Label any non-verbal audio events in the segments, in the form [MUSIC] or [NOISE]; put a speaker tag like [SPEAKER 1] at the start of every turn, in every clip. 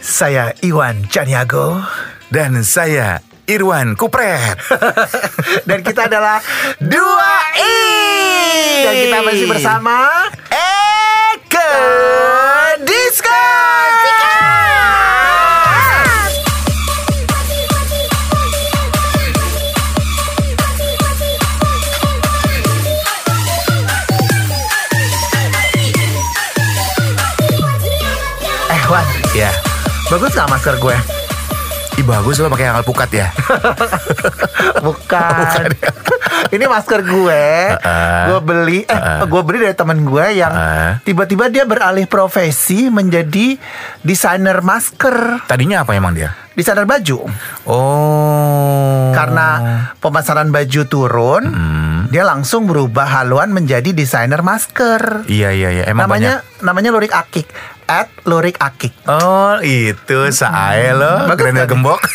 [SPEAKER 1] Saya Iwan Caniago
[SPEAKER 2] Dan saya Irwan Kupret.
[SPEAKER 1] [LAUGHS] dan kita adalah dua i dan kita masih bersama
[SPEAKER 2] Eke Diska.
[SPEAKER 1] eh Wan
[SPEAKER 2] Ya,
[SPEAKER 1] bagus nggak masker gue
[SPEAKER 2] ih bagus lo pakai yang alpukat
[SPEAKER 1] [LAUGHS]
[SPEAKER 2] ya.
[SPEAKER 1] bukan ya. ini masker gue
[SPEAKER 2] Heeh.
[SPEAKER 1] gue beli eh
[SPEAKER 2] Uh-uh.
[SPEAKER 1] gue beli dari teman gue yang
[SPEAKER 2] Heeh.
[SPEAKER 1] tiba-tiba dia beralih profesi menjadi desainer masker
[SPEAKER 2] Tadinya apa emang dia?
[SPEAKER 1] desainer baju
[SPEAKER 2] Oh.
[SPEAKER 1] karena pemasaran baju turun
[SPEAKER 2] Hmm.
[SPEAKER 1] dia langsung berubah haluan menjadi desainer masker
[SPEAKER 2] Iya iya iya emang
[SPEAKER 1] namanya
[SPEAKER 2] banyak.
[SPEAKER 1] namanya Lurik Akik at Lurik Akik
[SPEAKER 2] Oh itu sae lo
[SPEAKER 1] Hmm. Bagus
[SPEAKER 2] Grendel
[SPEAKER 1] kan?
[SPEAKER 2] gembok [LAUGHS]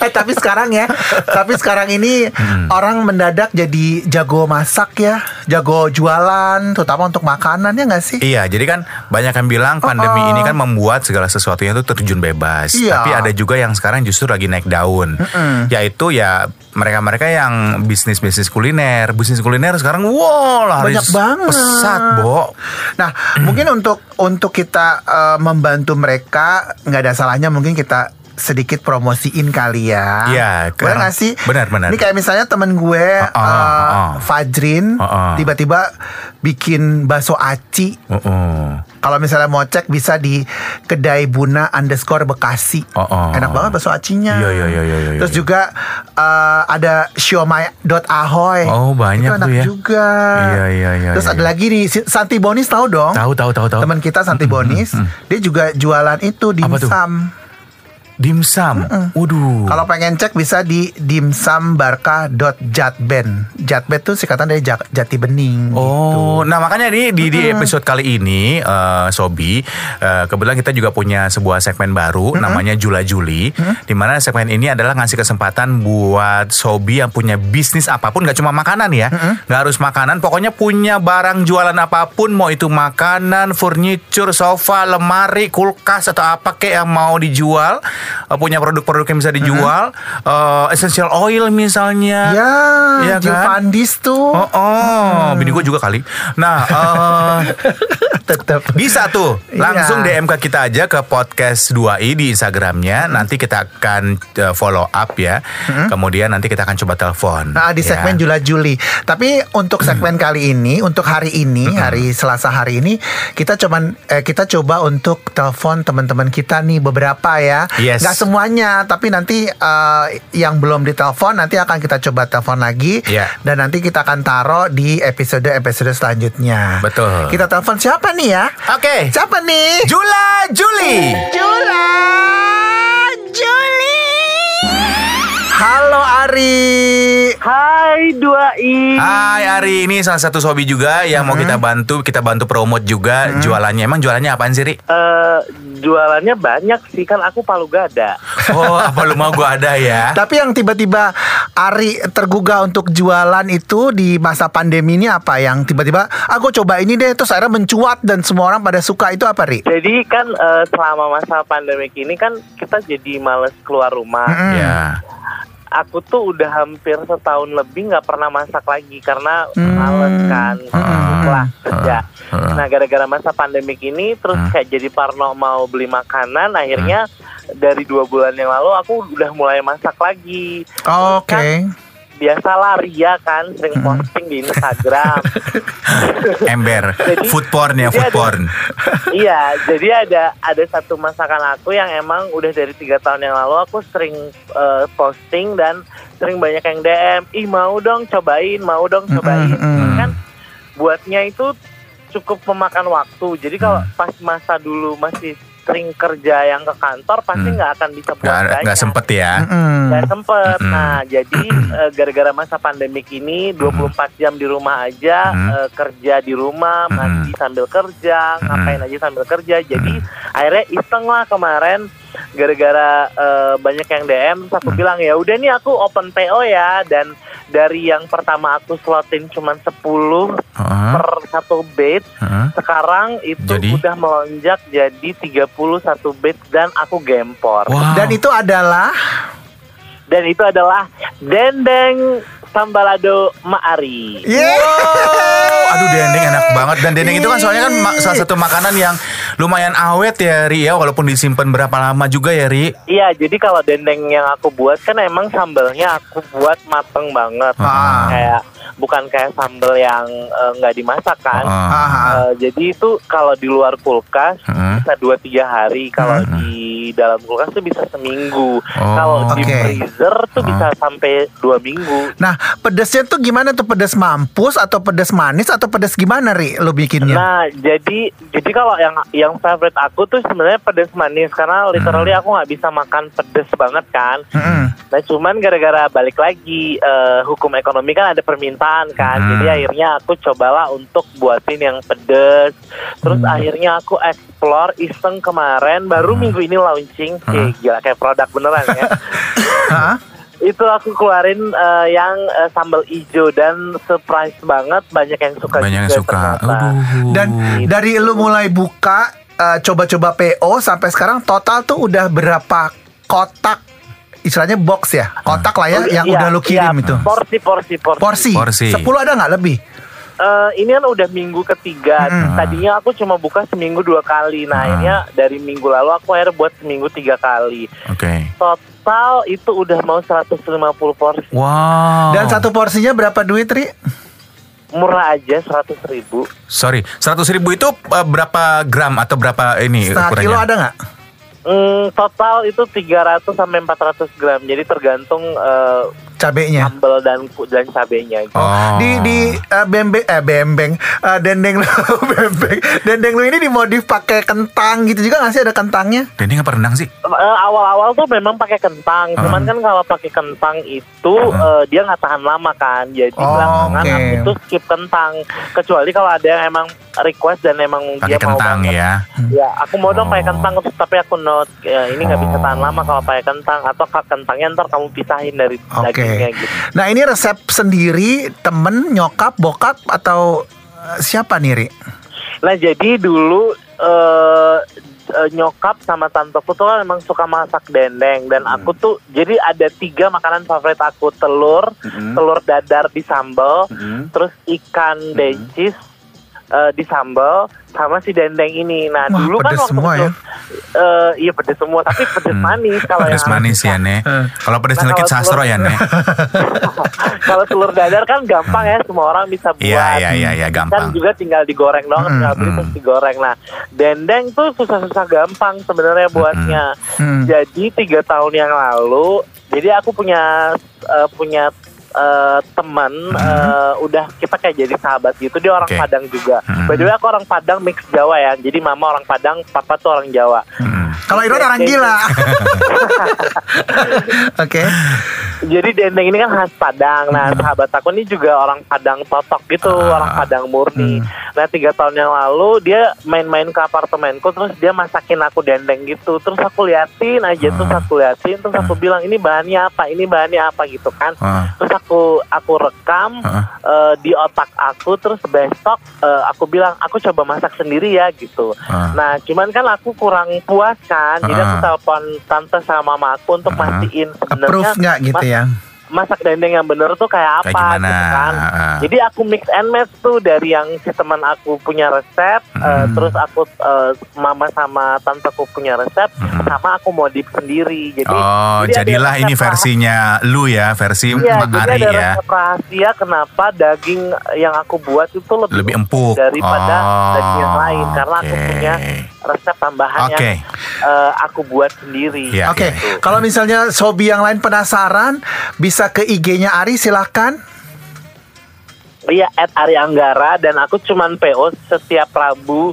[SPEAKER 1] eh tapi sekarang ya tapi sekarang ini
[SPEAKER 2] Hmm.
[SPEAKER 1] orang mendadak jadi jago masak ya jago jualan terutama untuk makanan ya nggak sih
[SPEAKER 2] Iya jadi kan banyak yang bilang pandemi
[SPEAKER 1] Oh, oh.
[SPEAKER 2] ini kan membuat segala sesuatunya itu terjun bebas
[SPEAKER 1] Iya.
[SPEAKER 2] Tapi ada juga yang sekarang justru lagi naik daun Yaitu ya mereka-mereka yang bisnis-bisnis kuliner Bisnis kuliner sekarang wow laris
[SPEAKER 1] Banyak banget.
[SPEAKER 2] pesat Bo
[SPEAKER 1] Nah,
[SPEAKER 2] Hmm.
[SPEAKER 1] mungkin untuk untuk kita eh, membantu mereka nggak ada salahnya mungkin kita sedikit promosiin kali ya.
[SPEAKER 2] Iya,
[SPEAKER 1] Boleh
[SPEAKER 2] karena-
[SPEAKER 1] nggak sih?
[SPEAKER 2] benar, benar.
[SPEAKER 1] Ini kayak misalnya temen gue
[SPEAKER 2] Oh, oh,
[SPEAKER 1] eh,
[SPEAKER 2] oh.
[SPEAKER 1] Fajrin
[SPEAKER 2] Oh, oh.
[SPEAKER 1] tiba-tiba bikin bakso aci.
[SPEAKER 2] Oh, oh.
[SPEAKER 1] Kalau misalnya mau cek bisa di kedai Buna underscore Bekasi.
[SPEAKER 2] Oh, oh.
[SPEAKER 1] Enak banget bakso acinya.
[SPEAKER 2] Iya, iya, iya, iya, iya,
[SPEAKER 1] Terus
[SPEAKER 2] iya.
[SPEAKER 1] juga eh, ada siomay.ahoy.
[SPEAKER 2] Oh, banyak
[SPEAKER 1] Itu enak
[SPEAKER 2] tuh ya.
[SPEAKER 1] juga.
[SPEAKER 2] Iya, iya, iya,
[SPEAKER 1] Terus
[SPEAKER 2] iya,
[SPEAKER 1] ada
[SPEAKER 2] iya.
[SPEAKER 1] lagi nih si- Santi Bonis tahu dong.
[SPEAKER 2] Tahu tahu tahu tahu
[SPEAKER 1] Teman kita Santi Bonis, dia juga jualan itu
[SPEAKER 2] Apa tuh?
[SPEAKER 1] dimsum.
[SPEAKER 2] Dimsum Waduh
[SPEAKER 1] Kalau pengen cek bisa di dimsumbarka.jatben. Jatben tuh singkatan dari Jak- jati bening.
[SPEAKER 2] Oh, nah makanya di di, di episode kali ini eh, Sobi eh, kebetulan kita juga punya sebuah segmen baru namanya Jula Juli di mana segmen ini adalah ngasih kesempatan buat Sobi yang punya bisnis apapun nggak cuma makanan ya. nggak harus makanan, pokoknya punya barang jualan apapun mau itu makanan, furniture, sofa, lemari, kulkas atau apa kek yang mau dijual, eh, punya produk-produk yang bisa dijual, eh, essential oil misalnya.
[SPEAKER 1] Ya,
[SPEAKER 2] Iya
[SPEAKER 1] Jill
[SPEAKER 2] kan?
[SPEAKER 1] Fandis tuh [LAUGHS]
[SPEAKER 2] Oh, oh. bini gue juga kali. Nah, eh,
[SPEAKER 1] tetap
[SPEAKER 2] bisa tuh langsung
[SPEAKER 1] Iya.
[SPEAKER 2] DM ke kita aja ke podcast 2i di Instagramnya. Nanti kita akan eh, follow up ya. Kemudian nanti kita akan coba telepon.
[SPEAKER 1] Nah, di
[SPEAKER 2] ya.
[SPEAKER 1] segmen Jula Juli. Tapi untuk segmen kali ini, untuk hari ini, hari Selasa hari ini, kita cuman eh, kita coba untuk telepon teman-teman kita nih beberapa ya.
[SPEAKER 2] Yes.
[SPEAKER 1] Nggak semuanya, tapi nanti eh, yang belum ditelepon nanti akan kita coba telepon lagi
[SPEAKER 2] Iya.
[SPEAKER 1] dan nanti kita akan taruh di episode-episode selanjutnya.
[SPEAKER 2] Betul. Ah.
[SPEAKER 1] Kita telepon siapa nih ya?
[SPEAKER 2] Oke.
[SPEAKER 1] Siapa nih?
[SPEAKER 2] Jula Juli.
[SPEAKER 1] Jula Juli. Halo Ari.
[SPEAKER 3] Hai 2i
[SPEAKER 2] Hai Ari, ini salah satu sobi juga yang mau kita bantu, kita bantu promote juga jualannya. Emang jualannya apaan sih, Ri?
[SPEAKER 3] Eh, Jualannya banyak sih Kan aku palu gada
[SPEAKER 2] Oh, apa lu mau gua ada ya?
[SPEAKER 1] Tapi yang tiba-tiba Ari tergugah untuk jualan itu di masa pandemi ini apa yang tiba-tiba aku coba ini deh terus akhirnya mencuat dan semua orang pada suka itu apa Ri?
[SPEAKER 3] Jadi kan eh, selama masa pandemik ini kan Kita jadi males keluar rumah
[SPEAKER 1] Mm-mm.
[SPEAKER 2] Ya.
[SPEAKER 3] Aku tuh udah hampir setahun lebih nggak pernah masak lagi Karena males kan Setelah kerja Nah gara-gara masa pandemik ini Terus kayak jadi parno mau beli makanan Akhirnya dari dua bulan yang lalu Aku udah mulai masak lagi Kan
[SPEAKER 1] Oke.
[SPEAKER 3] Biasalah Ria kan Sering posting di Instagram
[SPEAKER 2] Ember,
[SPEAKER 3] Jadi-
[SPEAKER 2] food porn ya,
[SPEAKER 3] jadi
[SPEAKER 2] food
[SPEAKER 3] ada-
[SPEAKER 2] porn.
[SPEAKER 3] Iya, jadi ada ada satu masakan aku yang emang udah dari tiga tahun yang lalu aku sering eh, posting dan sering banyak yang DM, ih mau dong cobain, mau dong cobain,
[SPEAKER 1] mm.
[SPEAKER 3] kan buatnya itu cukup memakan waktu. Jadi kalau pas masa dulu masih sering kerja yang ke kantor pasti
[SPEAKER 2] Hmm.
[SPEAKER 3] Mm. nggak akan bisa buat
[SPEAKER 2] Gak,
[SPEAKER 3] banyak.
[SPEAKER 2] gak sempet ya.
[SPEAKER 1] Mm-mm.
[SPEAKER 3] Nggak sempet.
[SPEAKER 2] Mm-mm.
[SPEAKER 3] Nah, jadi eh, gara-gara masa pandemik ini 24 jam di rumah aja,
[SPEAKER 2] Mm.
[SPEAKER 3] eh, kerja di rumah,
[SPEAKER 2] Mm.
[SPEAKER 3] mandi sambil kerja,
[SPEAKER 2] Mm.
[SPEAKER 3] ngapain aja sambil kerja. Jadi akhirnya iseng lah kemarin gara-gara eh, banyak yang DM, terus aku bilang ya udah nih aku open PO ya dan dari yang pertama aku slotin cuman 10
[SPEAKER 2] Hmm. Heeh.
[SPEAKER 3] per satu bed
[SPEAKER 2] Heeh.
[SPEAKER 3] sekarang itu
[SPEAKER 2] Jadi?
[SPEAKER 3] udah melonjak jadi 31 bed dan aku gempor
[SPEAKER 2] Wow.
[SPEAKER 1] Dan itu adalah
[SPEAKER 3] dan itu adalah dendeng sambalado maari
[SPEAKER 1] Yeay.
[SPEAKER 2] Aduh dendeng enak banget dan dendeng itu kan soalnya kan ma- salah satu makanan yang lumayan awet ya Ri ya walaupun disimpan berapa lama juga ya Ri.
[SPEAKER 3] Iya, jadi kalau dendeng yang aku buat kan emang sambalnya aku buat mateng banget.
[SPEAKER 1] Ah.
[SPEAKER 3] Kayak bukan kayak sambal yang eh, nggak dimasak kan.
[SPEAKER 2] Ah.
[SPEAKER 1] Ah,
[SPEAKER 3] Eh, jadi itu kalau di luar kulkas
[SPEAKER 2] Hmm.
[SPEAKER 3] bisa dua tiga hari, kalau
[SPEAKER 1] Ah.
[SPEAKER 3] di dalam kulkas tuh bisa seminggu, kalau di
[SPEAKER 1] Oh, oke. Ah.
[SPEAKER 3] freezer tuh bisa sampai dua minggu.
[SPEAKER 1] Nah, pedesnya tuh gimana tuh? Pedes mampus atau pedes manis atau pedes gimana, Ri? Lu bikinnya?
[SPEAKER 3] Nah, jadi jadi kalau yang yang favorite aku tuh sebenarnya pedes manis karena literally
[SPEAKER 2] Hmm.
[SPEAKER 3] aku nggak bisa makan pedes banget kan.
[SPEAKER 1] Mm-mm.
[SPEAKER 3] Nah cuman gara-gara balik lagi eh, hukum ekonomi kan ada permintaan kan,
[SPEAKER 2] Hmm.
[SPEAKER 3] jadi akhirnya aku cobalah untuk buatin yang pedes. Terus
[SPEAKER 2] Hmm.
[SPEAKER 3] akhirnya aku explore iseng kemarin, baru minggu ini launching,
[SPEAKER 2] Hmm.
[SPEAKER 3] Eh, gila kayak produk beneran
[SPEAKER 2] [LAUGHS]
[SPEAKER 3] ya.
[SPEAKER 1] Hah?
[SPEAKER 3] Itu aku keluarin eh, yang eh, sambal ijo dan surprise banget banyak yang suka
[SPEAKER 2] Banyak yang
[SPEAKER 3] juga
[SPEAKER 2] suka.
[SPEAKER 3] ternyata.
[SPEAKER 2] Aduh.
[SPEAKER 1] Dan dari lu mulai buka eh, coba-coba PO sampai sekarang total tuh udah berapa kotak istilahnya box ya? Kotak lah ya yang
[SPEAKER 3] Iya,
[SPEAKER 1] udah lu
[SPEAKER 3] iya,
[SPEAKER 1] kirim itu.
[SPEAKER 3] Porsi, porsi, porsi.
[SPEAKER 1] Porsi.
[SPEAKER 2] Porsi.
[SPEAKER 1] 10 ada nggak lebih?
[SPEAKER 3] Eh, ini kan udah minggu ketiga.
[SPEAKER 1] Hmm.
[SPEAKER 3] Tadinya aku cuma buka seminggu dua kali. Nah, akhirnya dari minggu lalu aku akhirnya buat seminggu tiga kali.
[SPEAKER 2] Oke.
[SPEAKER 3] Total itu udah mau 150 porsi.
[SPEAKER 2] Wow.
[SPEAKER 3] Oh.
[SPEAKER 1] Dan satu porsinya berapa duit,
[SPEAKER 2] Iya,
[SPEAKER 1] Ri?
[SPEAKER 3] Murah aja 100 ribu.
[SPEAKER 2] Sorry, seratus ribu itu eh, berapa gram atau berapa ini
[SPEAKER 1] Setengah
[SPEAKER 2] ukurannya?
[SPEAKER 1] kilo ada nggak?
[SPEAKER 3] Hmm, total itu 300 sampai 400 gram. Jadi tergantung eh,
[SPEAKER 1] Cabenya.
[SPEAKER 3] sambal dan ku- dan cabenya. gitu.
[SPEAKER 2] Oh.
[SPEAKER 1] Di di eh, bembeng eh bembeng Eh, dendeng lu [LAUGHS] bembeng dendeng lu ini dimodif pakai kentang gitu juga nggak sih ada kentangnya?
[SPEAKER 2] dendeng apa rendang sih?
[SPEAKER 3] Eh, awal-awal tuh memang pakai kentang,
[SPEAKER 2] Ah.
[SPEAKER 3] cuman kan kalau pakai kentang itu eh, dia nggak tahan lama kan, jadi
[SPEAKER 1] Oh,
[SPEAKER 3] belakangan
[SPEAKER 1] oke.
[SPEAKER 3] aku tuh skip kentang. Kecuali kalau ada yang emang request dan emang
[SPEAKER 2] Pakai
[SPEAKER 3] dia mau
[SPEAKER 2] kentang
[SPEAKER 3] banget.
[SPEAKER 2] ya.
[SPEAKER 3] Ya, aku mau dong pakai
[SPEAKER 2] Oh.
[SPEAKER 3] kentang, terus tapi aku note ya, ini nggak bisa tahan
[SPEAKER 2] Oh.
[SPEAKER 3] lama kalau pakai kentang atau kak kentangnya ntar kamu pisahin dari
[SPEAKER 1] Oke.
[SPEAKER 3] dagingnya gitu.
[SPEAKER 1] Nah ini resep sendiri temen nyokap bokap atau eh, siapa nih Ri?
[SPEAKER 3] Nah jadi dulu eh eh, nyokap sama tanteku tuh kan emang suka masak dendeng dan
[SPEAKER 1] Hmm.
[SPEAKER 3] aku tuh jadi ada tiga makanan favorit aku telur,
[SPEAKER 1] Hmm.
[SPEAKER 3] telur dadar di sambal, terus ikan
[SPEAKER 1] Hmm.
[SPEAKER 3] dencis eh, di sambal sama si dendeng ini. Nah
[SPEAKER 1] Wah,
[SPEAKER 3] dulu kan
[SPEAKER 1] pedes
[SPEAKER 3] waktu
[SPEAKER 1] semua
[SPEAKER 3] itu,
[SPEAKER 1] ya. Hmm.
[SPEAKER 3] eh, iya pedes semua tapi pedes manis kalau
[SPEAKER 2] Pedas
[SPEAKER 3] yang
[SPEAKER 2] manis ya, Ne.
[SPEAKER 1] Eh.
[SPEAKER 2] Kalau pedas
[SPEAKER 3] Nah,
[SPEAKER 2] sedikit
[SPEAKER 3] kalau
[SPEAKER 2] sastro ya,
[SPEAKER 3] [LAUGHS]
[SPEAKER 2] Ne.
[SPEAKER 3] kalau telur dadar kan gampang ya semua orang bisa buat.
[SPEAKER 2] Iya, iya, iya, iya,
[SPEAKER 3] kan
[SPEAKER 2] gampang. Hmm,
[SPEAKER 3] juga tinggal digoreng doang
[SPEAKER 1] Mm,
[SPEAKER 3] tinggal beli terus digoreng nah dendeng tuh susah-susah gampang sebenarnya buatnya
[SPEAKER 1] Hmm.
[SPEAKER 3] jadi tiga tahun yang lalu jadi aku punya eh, punya eh, teman eh, udah kita kayak jadi sahabat gitu dia orang
[SPEAKER 2] Hmm. Oke. Hmm.
[SPEAKER 3] Padang juga by the way aku orang Padang mix Jawa ya jadi mama orang Padang papa tuh orang Jawa
[SPEAKER 2] Mm.
[SPEAKER 1] Kalau Iron orang gila. Oke.
[SPEAKER 3] Jadi dendeng ini kan khas Padang. Nah,
[SPEAKER 2] Hmm.
[SPEAKER 3] sahabat aku ini juga orang Padang totok gitu,
[SPEAKER 2] Ah.
[SPEAKER 3] orang Padang murni.
[SPEAKER 2] Hmm.
[SPEAKER 3] Nah, tiga tahun yang lalu dia main-main ke apartemenku, terus dia masakin aku dendeng gitu. Terus aku liatin aja, terus
[SPEAKER 2] Ah.
[SPEAKER 3] aku liatin, terus aku bilang ini bahannya apa, ini bahannya apa gitu kan.
[SPEAKER 2] Ah.
[SPEAKER 3] Terus aku aku rekam
[SPEAKER 2] Ah.
[SPEAKER 3] eh, di otak aku, terus besok eh, aku bilang aku coba masak sendiri ya gitu.
[SPEAKER 2] Ah.
[SPEAKER 3] Nah, cuman kan aku kurang puas kan, jadi aku
[SPEAKER 2] Ah.
[SPEAKER 3] telepon tante sama mama aku untuk
[SPEAKER 2] Ah.
[SPEAKER 3] mastiin
[SPEAKER 1] Approve
[SPEAKER 3] sebenarnya
[SPEAKER 1] nggak gitu
[SPEAKER 3] mas-
[SPEAKER 1] ya?
[SPEAKER 3] masak dendeng yang bener tuh kayak apa
[SPEAKER 2] Kayak gimana? Eh, Ah,
[SPEAKER 3] gitu kan.
[SPEAKER 2] Heeh.
[SPEAKER 3] Jadi aku mix and match tuh dari yang si teman aku punya resep, eh, terus aku eh, mama sama tanteku punya resep, sama aku modif sendiri. Jadi
[SPEAKER 2] Oh,
[SPEAKER 3] jadi ada
[SPEAKER 2] jadilah
[SPEAKER 3] resep
[SPEAKER 2] ini
[SPEAKER 3] rahasia.
[SPEAKER 2] versinya lu ya, versi
[SPEAKER 3] Iya,
[SPEAKER 2] Mak
[SPEAKER 3] jadi
[SPEAKER 2] Ari
[SPEAKER 3] ada
[SPEAKER 2] ya.
[SPEAKER 3] resep rahasia kenapa daging yang aku buat itu lebih,
[SPEAKER 2] Lebih empuk.
[SPEAKER 3] daripada
[SPEAKER 2] Oh,
[SPEAKER 3] daging yang lain karena aku
[SPEAKER 2] oke.
[SPEAKER 3] punya resep tambahan
[SPEAKER 2] Oke.
[SPEAKER 3] yang eh, aku buat sendiri.
[SPEAKER 2] Iya.
[SPEAKER 1] Oke.
[SPEAKER 2] iya.
[SPEAKER 1] Kalau misalnya sobi yang lain penasaran bisa ke IG-nya Ari silahkan.
[SPEAKER 3] Iya, at Ari Anggara dan aku cuman PO setiap Rabu,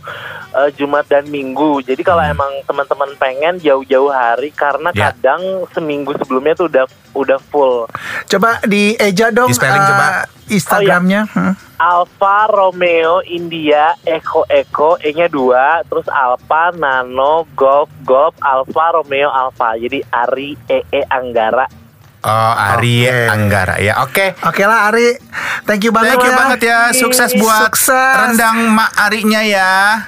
[SPEAKER 3] eh, Jumat dan Minggu. Jadi kalau emang teman-teman pengen jauh-jauh hari karena
[SPEAKER 2] Ya.
[SPEAKER 3] kadang seminggu sebelumnya tuh udah udah full.
[SPEAKER 1] Coba di Eja dong
[SPEAKER 2] Di spelling
[SPEAKER 1] eh,
[SPEAKER 2] coba.
[SPEAKER 1] Instagramnya. Hmm.
[SPEAKER 3] Alfa Romeo India Eko Eko E-nya dua, terus Alfa Nano Golf Golf Alfa Romeo Alfa. Jadi Ari EE E Anggara
[SPEAKER 2] Oh, Ari Anggara ya. Oke.
[SPEAKER 1] Oke lah Ari, thank you banget
[SPEAKER 2] Thank you
[SPEAKER 1] ya.
[SPEAKER 2] banget ya. Sukses buat
[SPEAKER 1] Sukses.
[SPEAKER 2] rendang Mak Arinya ya.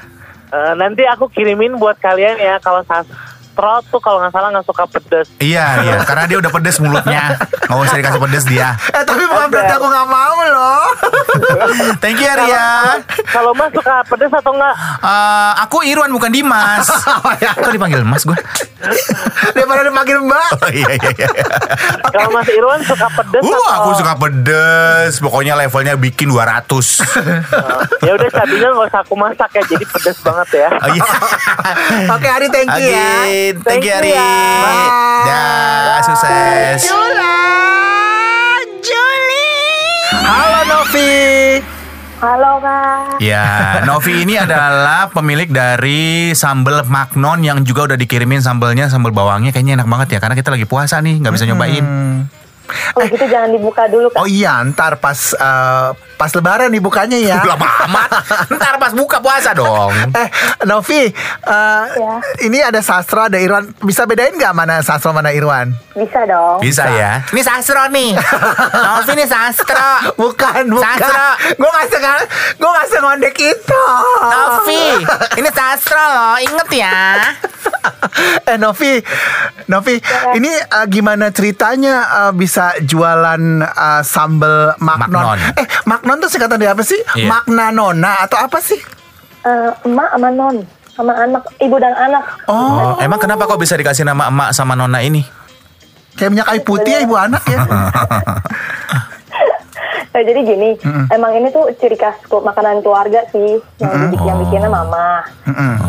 [SPEAKER 3] Eh, nanti aku kirimin buat kalian ya kalau sastro tuh kalau nggak salah nggak suka pedes.
[SPEAKER 2] Iya,
[SPEAKER 1] [LAUGHS]
[SPEAKER 2] iya. Karena dia udah pedes mulutnya. Nggak usah dikasih pedes dia.
[SPEAKER 1] Eh tapi bukan berarti aku nggak mau loh.
[SPEAKER 2] [LAUGHS] Thank you Ari ya.
[SPEAKER 3] Kalau mas suka pedes atau enggak?
[SPEAKER 2] Eh, aku Irwan bukan Dimas. Kok dipanggil Mas gue?
[SPEAKER 1] Oh, iya. Daripada dipanggil Mbak.
[SPEAKER 2] Oh, iya, iya, iya.
[SPEAKER 3] Kalau Mas Irwan suka pedes
[SPEAKER 2] Uh,
[SPEAKER 3] atau
[SPEAKER 2] aku suka pedes. Pokoknya levelnya bikin
[SPEAKER 1] [LAUGHS]
[SPEAKER 2] 200.
[SPEAKER 3] ya udah cabenya nggak usah aku masak ya jadi pedes banget ya.
[SPEAKER 2] Oh, iya.
[SPEAKER 1] [LAUGHS] Oke Ari, thank you ya.
[SPEAKER 2] Oke, thank you
[SPEAKER 3] Thank
[SPEAKER 2] Ari.
[SPEAKER 3] you, ya.
[SPEAKER 1] Bye.
[SPEAKER 2] Dah, sukses.
[SPEAKER 1] Julan, Juli. Halo Novi.
[SPEAKER 4] Halo Kak.
[SPEAKER 2] Ya, Novi ini adalah pemilik dari sambal Magnon yang juga udah dikirimin sambalnya, sambal bawangnya kayaknya enak banget ya karena kita lagi puasa nih, nggak bisa
[SPEAKER 1] Hmm. [LAUGHS]
[SPEAKER 2] nyobain.
[SPEAKER 4] Oh gitu jangan dibuka dulu Kak.
[SPEAKER 1] Oh iya, ntar pas eh, pas Lebaran dibukanya ya.
[SPEAKER 2] Lama amat. Ntar pas buka puasa dong.
[SPEAKER 1] Eh, Novi, eh,
[SPEAKER 4] Ya.
[SPEAKER 1] ini ada sastra, ada Irwan. Bisa bedain nggak mana sastra mana Irwan?
[SPEAKER 4] Bisa dong.
[SPEAKER 2] Bisa ya. Ini sastro nih. Novi ini sastro.
[SPEAKER 1] [LAUGHS] Bukan, bukan.
[SPEAKER 2] Sastra.
[SPEAKER 1] Gue nggak sengaja, gue nggak sengondek itu.
[SPEAKER 2] ini sastro loh, inget ya.
[SPEAKER 1] [LAUGHS] eh Novi, Novi,
[SPEAKER 4] Ya.
[SPEAKER 1] ini eh, gimana ceritanya eh, bisa jualan eh, sambal
[SPEAKER 2] Magnon.
[SPEAKER 1] magnon? Eh, magnon tuh singkatan dari apa sih?
[SPEAKER 2] Iya.
[SPEAKER 1] Magna nona atau apa sih?
[SPEAKER 4] Eh, emak sama non sama anak ibu dan anak. [LAUGHS]
[SPEAKER 1] Oh,
[SPEAKER 2] Oh, emang kenapa kok bisa dikasih nama emak sama nona ini?
[SPEAKER 1] kayak minyak kayu putih ya ibu anak
[SPEAKER 2] [LAUGHS]
[SPEAKER 1] ya.
[SPEAKER 4] Eh, jadi gini, emang ini tuh ciri khas ku- makanan keluarga sih yang, dibikin- yang bikinnya
[SPEAKER 2] Oh.
[SPEAKER 4] mama.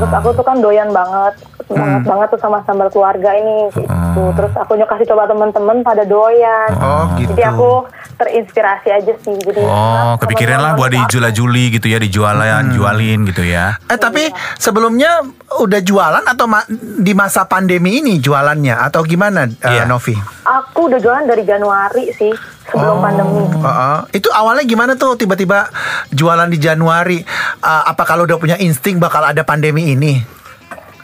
[SPEAKER 4] Terus aku tuh kan doyan banget,
[SPEAKER 2] Mm.
[SPEAKER 4] banget banget tuh sama sambal keluarga ini. Gitu. Terus aku nyoba kasih coba temen-temen pada doyan.
[SPEAKER 1] Oh, gitu.
[SPEAKER 4] Jadi aku terinspirasi aja sih. Jadi
[SPEAKER 2] Oh, kepikiran lah buat
[SPEAKER 4] di
[SPEAKER 2] dijula-juli gitu ya, dijualan, jualin gitu ya.
[SPEAKER 1] Eh tapi sebelumnya udah jualan atau ma- di masa pandemi ini jualannya atau gimana
[SPEAKER 2] Iya.
[SPEAKER 1] eh, Novi?
[SPEAKER 4] Hmm. Aku udah jualan dari Januari sih sebelum
[SPEAKER 2] Oh. [LAUGHS]
[SPEAKER 4] pandemi.
[SPEAKER 1] Heeh. Oh, Itu awalnya gimana tuh tiba-tiba jualan di Januari? Eh, apa kalau udah punya insting bakal ada pandemi ini?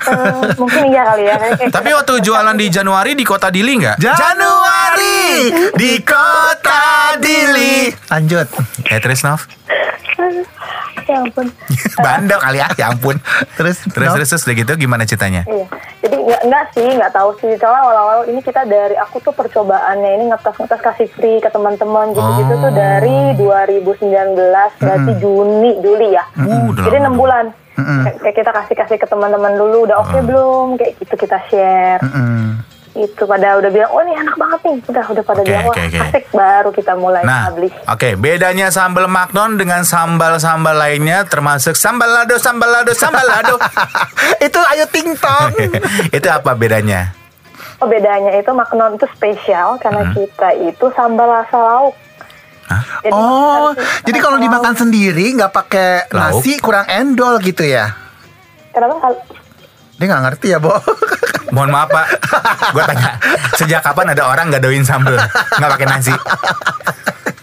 [SPEAKER 4] Eh, mungkin iya kali ya. Kayak-
[SPEAKER 2] Tapi [LAUGHS] waktu jualan di Januari di kota Dili nggak?
[SPEAKER 1] Januari
[SPEAKER 2] di kota Dili.
[SPEAKER 1] Lanjut.
[SPEAKER 2] Eh, terus Nov?
[SPEAKER 4] [LAUGHS] ya ampun.
[SPEAKER 2] [LAUGHS] Bandel kali ya, ya ampun.
[SPEAKER 1] Terus,
[SPEAKER 2] Terus,
[SPEAKER 1] Nov?
[SPEAKER 2] terus, terus udah gitu gimana ceritanya?
[SPEAKER 4] Iya. Jadi nggak nggak sih nggak tahu sih. Soalnya awal-awal ini kita dari aku tuh percobaannya ini ngetes-ngetes kasih free ke teman-teman gitu-gitu
[SPEAKER 2] Ah.
[SPEAKER 4] tuh dari 2019 berarti Juni Juli ya.
[SPEAKER 2] Uh, udah
[SPEAKER 4] Jadi
[SPEAKER 2] lama
[SPEAKER 4] enam
[SPEAKER 2] dong.
[SPEAKER 4] bulan. Kayak- Kayak kita kasih-kasih ke teman-teman dulu udah
[SPEAKER 2] Ah.
[SPEAKER 4] oke belum kayak gitu kita share.
[SPEAKER 1] Hmm.
[SPEAKER 4] Itu pada udah bilang oh ini enak banget nih. Udah udah pada
[SPEAKER 2] Oke,
[SPEAKER 4] bilang wah
[SPEAKER 2] oke, oke.
[SPEAKER 4] asik baru kita mulai
[SPEAKER 2] Nah,
[SPEAKER 4] publish.
[SPEAKER 2] oke, bedanya sambal Magnon dengan sambal-sambal lainnya termasuk sambal lado, sambal lado, sambal [LAUGHS] lado.
[SPEAKER 1] [LAUGHS] Itu ayo ting
[SPEAKER 2] [LAUGHS]
[SPEAKER 1] tong.
[SPEAKER 2] Itu apa bedanya?
[SPEAKER 4] Oh bedanya itu maknon itu spesial karena kita itu sambal rasa lauk. Jadi
[SPEAKER 1] oh,
[SPEAKER 4] harus-
[SPEAKER 1] jadi
[SPEAKER 4] rasa
[SPEAKER 1] kalau
[SPEAKER 4] lauk.
[SPEAKER 1] dimakan sendiri nggak pakai
[SPEAKER 2] Lauk.
[SPEAKER 1] nasi kurang endol gitu ya?
[SPEAKER 4] Kenapa? kalau-
[SPEAKER 1] Dia nggak ngerti ya, Bo. [LAUGHS]
[SPEAKER 2] Mohon maaf Pak, gue tanya sejak kapan ada orang nggak doin sambal, nggak pakai nasi?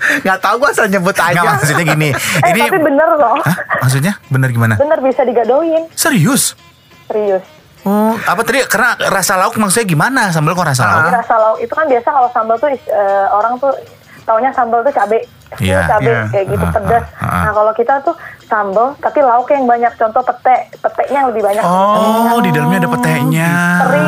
[SPEAKER 1] nggak tahu gua asal nyebut
[SPEAKER 2] Nggak
[SPEAKER 1] aja.
[SPEAKER 2] maksudnya gini,
[SPEAKER 4] Eh
[SPEAKER 2] ini
[SPEAKER 4] tapi bener loh,
[SPEAKER 2] Hah? Maksudnya bener gimana?
[SPEAKER 4] bener bisa digadoin
[SPEAKER 2] Serius?
[SPEAKER 4] serius.
[SPEAKER 2] Oh, apa tadi? Karena rasa lauk maksudnya gimana? Sambal kok rasa lauk?
[SPEAKER 4] Jadi rasa lauk itu kan biasa kalau sambal tuh eh, orang tuh taunya sambal tuh cabe,
[SPEAKER 2] Iya,
[SPEAKER 4] cabe
[SPEAKER 1] iya.
[SPEAKER 4] kayak gitu
[SPEAKER 2] Ah,
[SPEAKER 4] pedas.
[SPEAKER 2] ah, ah.
[SPEAKER 4] Nah kalau kita tuh sambal tapi lauk yang banyak, contoh pete, petenya yang lebih banyak.
[SPEAKER 2] Oh, di dalamnya ada petainya.
[SPEAKER 4] Teri.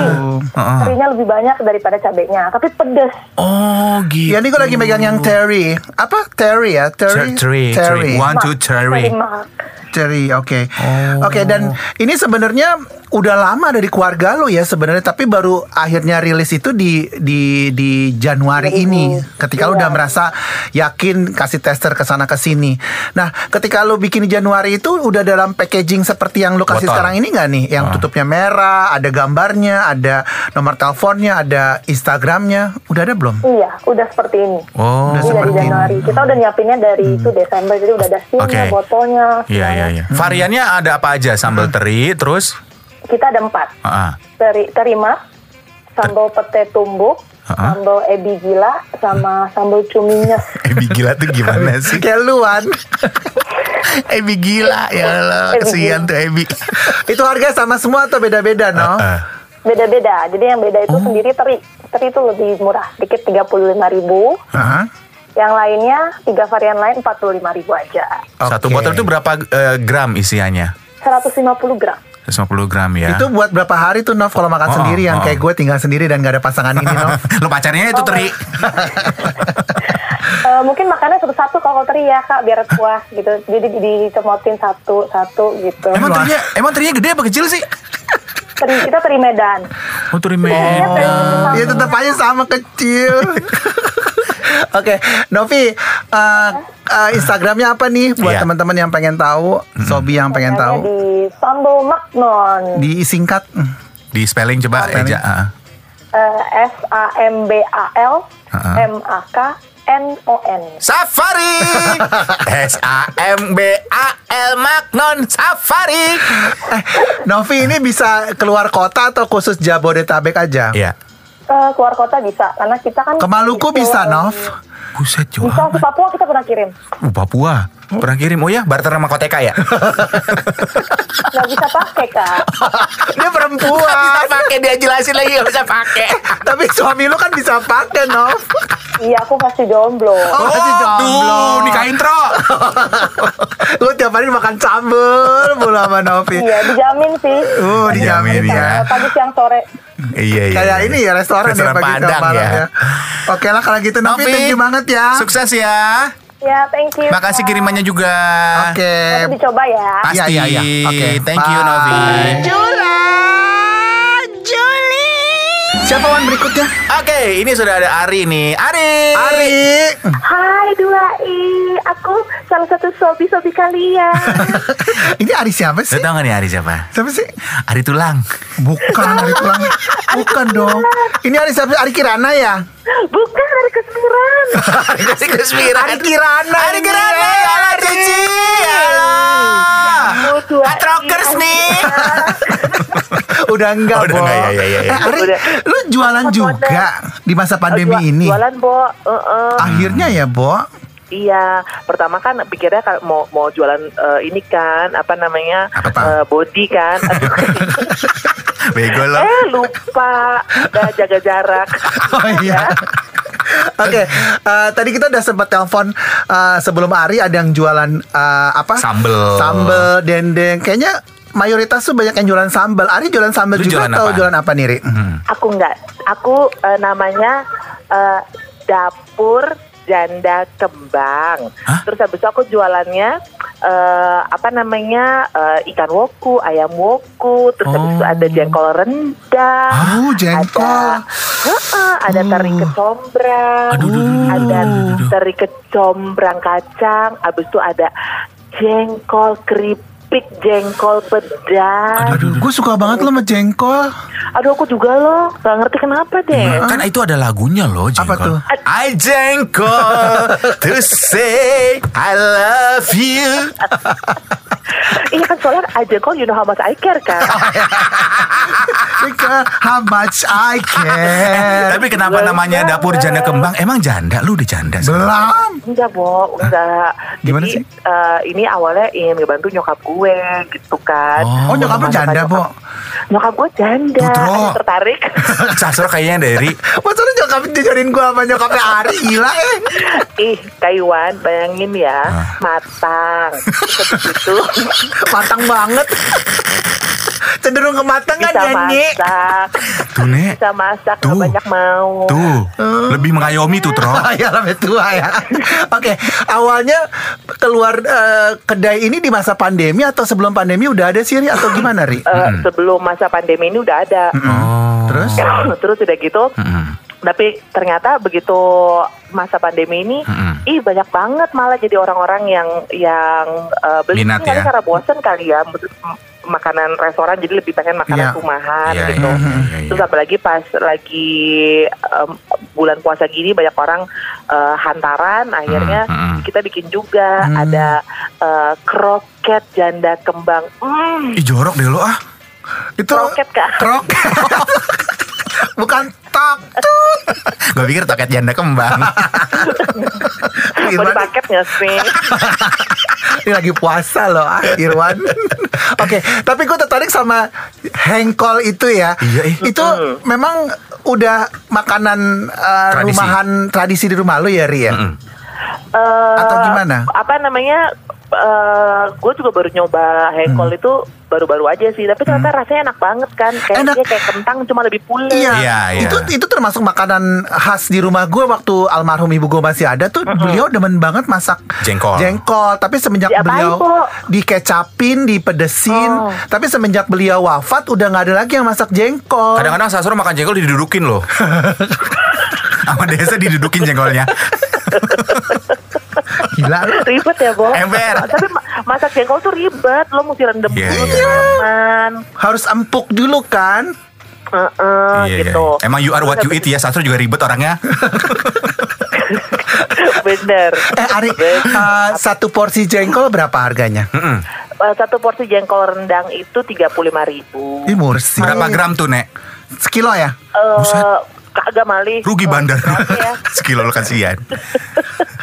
[SPEAKER 2] Heeh.
[SPEAKER 4] Terinya lebih banyak daripada cabenya, tapi pedes.
[SPEAKER 2] Oh, gitu.
[SPEAKER 1] Ya
[SPEAKER 4] Iya,
[SPEAKER 1] ini gue lagi megang yang Terry. Apa Terry ya?
[SPEAKER 2] Teri, teri,
[SPEAKER 1] Terry.
[SPEAKER 2] teri. One, two, teri.
[SPEAKER 4] Terima.
[SPEAKER 1] Terry, oke.
[SPEAKER 2] Oh.
[SPEAKER 1] Oke, dan ini sebenarnya udah lama dari keluarga lo ya sebenarnya, tapi baru akhirnya rilis itu di di di Januari ini. Ketika lo udah merasa yakin kasih tester ke sana ke sini. Nah, ketika lo bikin di Januari itu udah dalam packaging seperti yang lo
[SPEAKER 2] Botol.
[SPEAKER 1] kasih
[SPEAKER 2] Ah.
[SPEAKER 1] sekarang ini nggak nih? Yang tutupnya merah, ada gambarnya, ada nomor teleponnya, ada Instagramnya. Udah ada belum?
[SPEAKER 4] Iya, udah seperti ini.
[SPEAKER 2] Oh,
[SPEAKER 4] Ini dari Januari. Kita udah nyiapinnya dari itu Desember, jadi udah ada sinnya,
[SPEAKER 2] Hmm. Oke.
[SPEAKER 4] botolnya. Hmm.
[SPEAKER 2] Iya, iya, iya. Variannya ada apa aja? Sambal teri, terus?
[SPEAKER 4] Kita ada empat.
[SPEAKER 2] Heeh.
[SPEAKER 4] Teri, terima, sambal pete tumbuk,
[SPEAKER 2] Ah.
[SPEAKER 4] sambal ebi gila, sama sambal cuminya.
[SPEAKER 2] Ebi gila tuh gimana [LAUGHS] sih?
[SPEAKER 1] Kayak luan.
[SPEAKER 2] Ebi gila ya Allah,
[SPEAKER 4] Ebi
[SPEAKER 2] kesian tuh Ebi.
[SPEAKER 1] itu harga sama semua atau beda-beda, no?
[SPEAKER 2] Eh,
[SPEAKER 1] Oh.
[SPEAKER 4] Beda-beda. Jadi yang beda itu sendiri teri. lobster itu lebih murah sedikit 35.000 ribu.
[SPEAKER 1] Hah?
[SPEAKER 4] Yang lainnya, tiga varian lain 45.000 ribu aja.
[SPEAKER 2] Satu
[SPEAKER 1] Oke.
[SPEAKER 2] botol itu berapa eh, gram isiannya?
[SPEAKER 4] 150
[SPEAKER 1] [SIGHS]
[SPEAKER 4] gram.
[SPEAKER 2] 150 gram ya. [LAUGHS]
[SPEAKER 1] Itu buat berapa hari tuh Nov kalau makan
[SPEAKER 2] Oh,
[SPEAKER 1] sendiri yang
[SPEAKER 2] oh.
[SPEAKER 1] kayak gue tinggal sendiri dan gak ada pasangan ini
[SPEAKER 2] [LAUGHS]
[SPEAKER 1] Nov.
[SPEAKER 2] lo pacarnya itu teri.
[SPEAKER 4] Eh, mungkin makannya satu-satu kalau teri ya kak biar puas gitu jadi di- dicemotin satu-satu gitu
[SPEAKER 2] Emang terinya emang terinya gede apa kecil sih?
[SPEAKER 4] teri, kita teri Medan
[SPEAKER 2] Oh, teri
[SPEAKER 1] Iya,
[SPEAKER 4] Biasanya teri
[SPEAKER 2] Medan.
[SPEAKER 4] sama.
[SPEAKER 1] Ya tetap aja sama
[SPEAKER 2] [LAUGHS]
[SPEAKER 1] kecil. Oke, Novi, eh, eh, Instagramnya apa nih buat
[SPEAKER 2] Iya.
[SPEAKER 1] teman-teman yang pengen tahu, Sobi yang pengen
[SPEAKER 4] Namanya
[SPEAKER 1] tahu,
[SPEAKER 4] di Sando Magnon
[SPEAKER 1] disingkat mm,
[SPEAKER 2] Di spelling coba
[SPEAKER 1] Spelling.
[SPEAKER 2] Eja. ah.
[SPEAKER 4] Eh, S A M B A L M A K N O N
[SPEAKER 1] [LAUGHS]
[SPEAKER 2] Safari S A M B A L Magnon Safari.
[SPEAKER 1] Eh, Novi ini bisa keluar kota atau khusus Jabodetabek aja?
[SPEAKER 2] Iya.
[SPEAKER 4] Eh, keluar kota bisa karena kita kan
[SPEAKER 1] Ke Maluku bisa, Nov? [LAUGHS]
[SPEAKER 2] Buset jauh
[SPEAKER 4] bisa
[SPEAKER 2] amat.
[SPEAKER 4] ke Papua kita pernah kirim
[SPEAKER 2] Uh, Papua. Pernah kirim. Oh ya, barter sama Koteka
[SPEAKER 1] [LAUGHS]
[SPEAKER 2] ya?
[SPEAKER 4] nggak bisa pakai kak
[SPEAKER 1] Dia
[SPEAKER 2] [LAUGHS]
[SPEAKER 1] perempuan,
[SPEAKER 2] pakai dia jelasin lagi nggak bisa pakai.
[SPEAKER 1] tapi suami lu kan bisa pakai, Nov.
[SPEAKER 4] iya aku masih jomblo
[SPEAKER 1] Oh, masih jomblo.
[SPEAKER 2] Aduh, nikah
[SPEAKER 1] [LAUGHS]
[SPEAKER 2] intro.
[SPEAKER 1] Lu tiap hari makan sambel mulu sama Novi.
[SPEAKER 4] iya dijamin sih
[SPEAKER 1] Uh,
[SPEAKER 2] dijamin
[SPEAKER 1] dijamin
[SPEAKER 2] ya.
[SPEAKER 1] ya.
[SPEAKER 4] Eh, pagi siang sore
[SPEAKER 2] iya, iya.
[SPEAKER 1] Kayak ini ya restoran,
[SPEAKER 2] Restoran
[SPEAKER 1] ya pagi ke
[SPEAKER 2] Padang
[SPEAKER 1] malam
[SPEAKER 2] ya.
[SPEAKER 1] ya. Oke lah kalau gitu Novi,
[SPEAKER 2] Novi,
[SPEAKER 1] thank you banget ya.
[SPEAKER 2] Sukses ya.
[SPEAKER 4] ya thank you
[SPEAKER 2] Makasih
[SPEAKER 4] Kak.
[SPEAKER 2] kirimannya juga.
[SPEAKER 1] Oke.
[SPEAKER 4] Nanti dicoba ya
[SPEAKER 2] Pasti.
[SPEAKER 1] Iya, iya, iya. Oke,
[SPEAKER 2] Thank you
[SPEAKER 1] bye.
[SPEAKER 2] Novi.
[SPEAKER 1] Siapa Wan berikutnya?
[SPEAKER 2] Oke, ini sudah ada Ari nih. Ari.
[SPEAKER 1] Ari.
[SPEAKER 4] Hai dua i, aku salah satu sobi sobi
[SPEAKER 1] [LAUGHS]
[SPEAKER 4] kalian.
[SPEAKER 1] [LAUGHS] Ini Ari siapa
[SPEAKER 2] Lo
[SPEAKER 1] sih?
[SPEAKER 2] tau gak nih Ari siapa?
[SPEAKER 1] Siapa sih?
[SPEAKER 2] Ari Tulang.
[SPEAKER 1] Bukan Ari Tulang. Bukan dong. Ini Ari siapa? Ari Kirana ya?
[SPEAKER 4] Bukan dari kesembiran.
[SPEAKER 2] Ari kasih kesembilan.
[SPEAKER 1] Ari Kirana.
[SPEAKER 2] Ari Kirana. Ya Allah, Cici. Ya Allah.
[SPEAKER 4] Oh, dua
[SPEAKER 2] Hard rockers
[SPEAKER 3] [LAUGHS]
[SPEAKER 4] I.
[SPEAKER 2] nih.
[SPEAKER 1] Udah enggak,
[SPEAKER 2] Oh, udah
[SPEAKER 1] Bo.
[SPEAKER 2] enggak, ya, ya, ya, ya.
[SPEAKER 1] Eh, Ari,
[SPEAKER 4] Udah.
[SPEAKER 1] lu jualan juga di masa pandemi
[SPEAKER 3] Jua-
[SPEAKER 1] ini.
[SPEAKER 3] Jualan, Bo. Heeh.
[SPEAKER 1] Akhirnya ya, Bo.
[SPEAKER 3] Iya, pertama kan pikirnya kan mau mau jualan eh, ini kan, apa namanya?
[SPEAKER 1] Apa, Pak?
[SPEAKER 3] Eh, body
[SPEAKER 1] [LAUGHS]
[SPEAKER 3] kan. Aduh,
[SPEAKER 2] Bego lo.
[SPEAKER 3] eh lupa. Udah jaga jarak.
[SPEAKER 1] [LAUGHS]
[SPEAKER 3] Ya.
[SPEAKER 1] Oh iya. Oke, eh, tadi kita udah sempat telepon eh, sebelum Ari ada yang jualan eh, apa?
[SPEAKER 2] Sambel.
[SPEAKER 1] Sambel, dendeng. Kayaknya mayoritas tuh banyak yang jualan sambel. Ari jualan sambel
[SPEAKER 2] Lu
[SPEAKER 1] juga
[SPEAKER 2] jualan
[SPEAKER 1] atau
[SPEAKER 2] apaan?
[SPEAKER 1] jualan apa Hmm. nih, Ri?
[SPEAKER 3] Aku enggak. Aku eh, namanya eh, dapur janda kembang. Terus habis itu aku jualannya eh, apa namanya? eh, ikan woku, ayam woku, terus habis itu ada jengkol rendang.
[SPEAKER 1] [LAUGHS] Oh, jengkol.
[SPEAKER 3] Ada, Heeh, ada teri kecombrang.
[SPEAKER 2] Aduh, aduh, aduh, aduh,
[SPEAKER 3] ada
[SPEAKER 2] aduh, aduh.
[SPEAKER 3] teri kecombrang kacang, habis itu ada jengkol keripik, jengkol pedas.
[SPEAKER 1] Aduh, gue suka banget lo sama jengkol.
[SPEAKER 3] Aduh aku juga loh, gak ngerti kenapa deh.
[SPEAKER 2] Kan itu ada lagunya loh jengkol.
[SPEAKER 1] Apa tuh?
[SPEAKER 2] I jengkol to say I love you.
[SPEAKER 3] Iya kan soalnya I jengkol you know how much I care
[SPEAKER 2] [LAUGHS]
[SPEAKER 3] kan.
[SPEAKER 1] Because how much
[SPEAKER 2] [LAUGHS]
[SPEAKER 1] I care.
[SPEAKER 2] Eh, Tapi kenapa namanya dapur janda kembang? Emang janda lu udah janda sekarang?
[SPEAKER 1] Belum.
[SPEAKER 3] enggak Bo, enggak.
[SPEAKER 1] Gimana
[SPEAKER 3] Jadi
[SPEAKER 1] sih?
[SPEAKER 3] eh, ini awalnya ingin ngebantu nyokap gue gitu kan.
[SPEAKER 1] Oh, nyokap lu janda, Bo?
[SPEAKER 3] Nyokap gue janda.
[SPEAKER 1] Putro.
[SPEAKER 3] Aduh, tertarik.
[SPEAKER 2] [LAUGHS] Sasro kayaknya dari
[SPEAKER 1] [LAUGHS] Masa lu nyokap jajarin gue sama nyokapnya Ari? Gila eh.
[SPEAKER 3] Ih, Taiwan, bayangin ya, matang. Terus habis itu
[SPEAKER 1] Matang banget. Cenderung kematangan
[SPEAKER 3] bisa
[SPEAKER 1] ya, Nyi.
[SPEAKER 3] masak,
[SPEAKER 2] tuh Nek.
[SPEAKER 3] bisa masak,
[SPEAKER 2] Tuh.
[SPEAKER 3] nggak banyak mau.
[SPEAKER 2] Tuh, lebih mengayomi tuh, Tro.
[SPEAKER 1] [LAUGHS] Oh ya lebih tua ya. [LAUGHS] Oke, awalnya keluar eh, kedai ini di masa pandemi atau sebelum pandemi udah ada sih Ri atau gimana Ri?
[SPEAKER 3] Eh,
[SPEAKER 2] Hmm.
[SPEAKER 3] Sebelum masa pandemi ini udah ada.
[SPEAKER 1] Terus?
[SPEAKER 2] Hmm.
[SPEAKER 3] [LAUGHS] Terus udah gitu, tapi ternyata begitu masa pandemi ini,
[SPEAKER 2] Hmm.
[SPEAKER 3] ih banyak banget malah jadi orang-orang yang yang eh, beli
[SPEAKER 2] Minat
[SPEAKER 3] Kali
[SPEAKER 2] ya?
[SPEAKER 3] karena bosen kali ya m- makanan restoran jadi lebih pengen makanan
[SPEAKER 1] Iya.
[SPEAKER 3] rumahan
[SPEAKER 2] Iya,
[SPEAKER 3] gitu.
[SPEAKER 2] iya, iya, iya.
[SPEAKER 3] Terus apalagi pas lagi em, bulan puasa gini banyak orang eh, hantaran, akhirnya
[SPEAKER 2] Hmm, hmm.
[SPEAKER 3] kita bikin juga
[SPEAKER 1] Hmm.
[SPEAKER 3] ada eh, kroket janda kembang. Mm,
[SPEAKER 2] Ih, jorok deh lo ah.
[SPEAKER 1] Itu
[SPEAKER 3] Kroket,
[SPEAKER 1] [LAUGHS]
[SPEAKER 3] Kak.
[SPEAKER 1] Kroket. Bukan tok
[SPEAKER 2] [LAUGHS]
[SPEAKER 1] tut.
[SPEAKER 2] Gue pikir [LAUGHS] toket janda kembang.
[SPEAKER 1] [LAUGHS]
[SPEAKER 3] mau dipaket nggak sih?
[SPEAKER 1] Ini lagi puasa loh, ah,
[SPEAKER 2] [LAUGHS]
[SPEAKER 1] Irwan. Oke, tapi gue tertarik sama hengkol itu ya.
[SPEAKER 2] Iya, iya.
[SPEAKER 1] Itu memang udah makanan eh,
[SPEAKER 2] Tradisi.
[SPEAKER 1] rumahan tradisi di rumah lu ya, Ria?
[SPEAKER 3] Eh,
[SPEAKER 1] Atau gimana?
[SPEAKER 3] Apa namanya? eh gue juga baru nyoba
[SPEAKER 1] Hmm.
[SPEAKER 3] hengkol itu baru-baru aja sih, tapi ternyata rasanya enak banget kan. Kayak
[SPEAKER 1] Enak.
[SPEAKER 3] dia kayak kentang cuma lebih pulen.
[SPEAKER 1] Iya,
[SPEAKER 2] Iya, iya.
[SPEAKER 1] itu itu termasuk makanan khas di rumah gue waktu almarhum ibu gue masih ada tuh beliau demen banget masak
[SPEAKER 2] Jengkol.
[SPEAKER 1] jengkol. Tapi semenjak
[SPEAKER 3] Diapain,
[SPEAKER 1] beliau
[SPEAKER 3] Po?
[SPEAKER 1] dikecapin, dipedesin,
[SPEAKER 3] Oh.
[SPEAKER 1] tapi semenjak beliau wafat udah nggak ada lagi yang masak jengkol.
[SPEAKER 2] Kadang-kadang Sasro makan jengkol didudukin [LAUGHS] loh. Sama Desa didudukin jengkolnya.
[SPEAKER 1] [LAUGHS] Gila lu.
[SPEAKER 3] Ribet ya, Bo?
[SPEAKER 2] Ember.
[SPEAKER 3] Tapi ma- masak jengkol tuh ribet. Lo mesti rendem
[SPEAKER 2] Iya,
[SPEAKER 3] dulu
[SPEAKER 2] iya.
[SPEAKER 3] teman.
[SPEAKER 1] harus empuk dulu kan?
[SPEAKER 2] Oh,
[SPEAKER 3] Heeh, gitu.
[SPEAKER 2] Iya, Emang you are what you eat ya. Sasro juga ribet orangnya.
[SPEAKER 3] [LAUGHS]
[SPEAKER 2] [LAUGHS]
[SPEAKER 3] Bener.
[SPEAKER 1] Eh
[SPEAKER 3] [LAUGHS]
[SPEAKER 1] Ari,
[SPEAKER 3] Bener.
[SPEAKER 1] eh, satu porsi jengkol berapa harganya?
[SPEAKER 3] Eh, Satu porsi jengkol rendang itu tiga puluh lima ribu.
[SPEAKER 1] Ih mursi.
[SPEAKER 2] Berapa gram tuh, Nek?
[SPEAKER 1] Sekilo ya?
[SPEAKER 3] Eh, kagak mali.
[SPEAKER 2] Rugi
[SPEAKER 3] Eh,
[SPEAKER 2] bandar.
[SPEAKER 3] berapa ya?
[SPEAKER 2] [LAUGHS] Sekilo lo [LAUGHS] kasihan.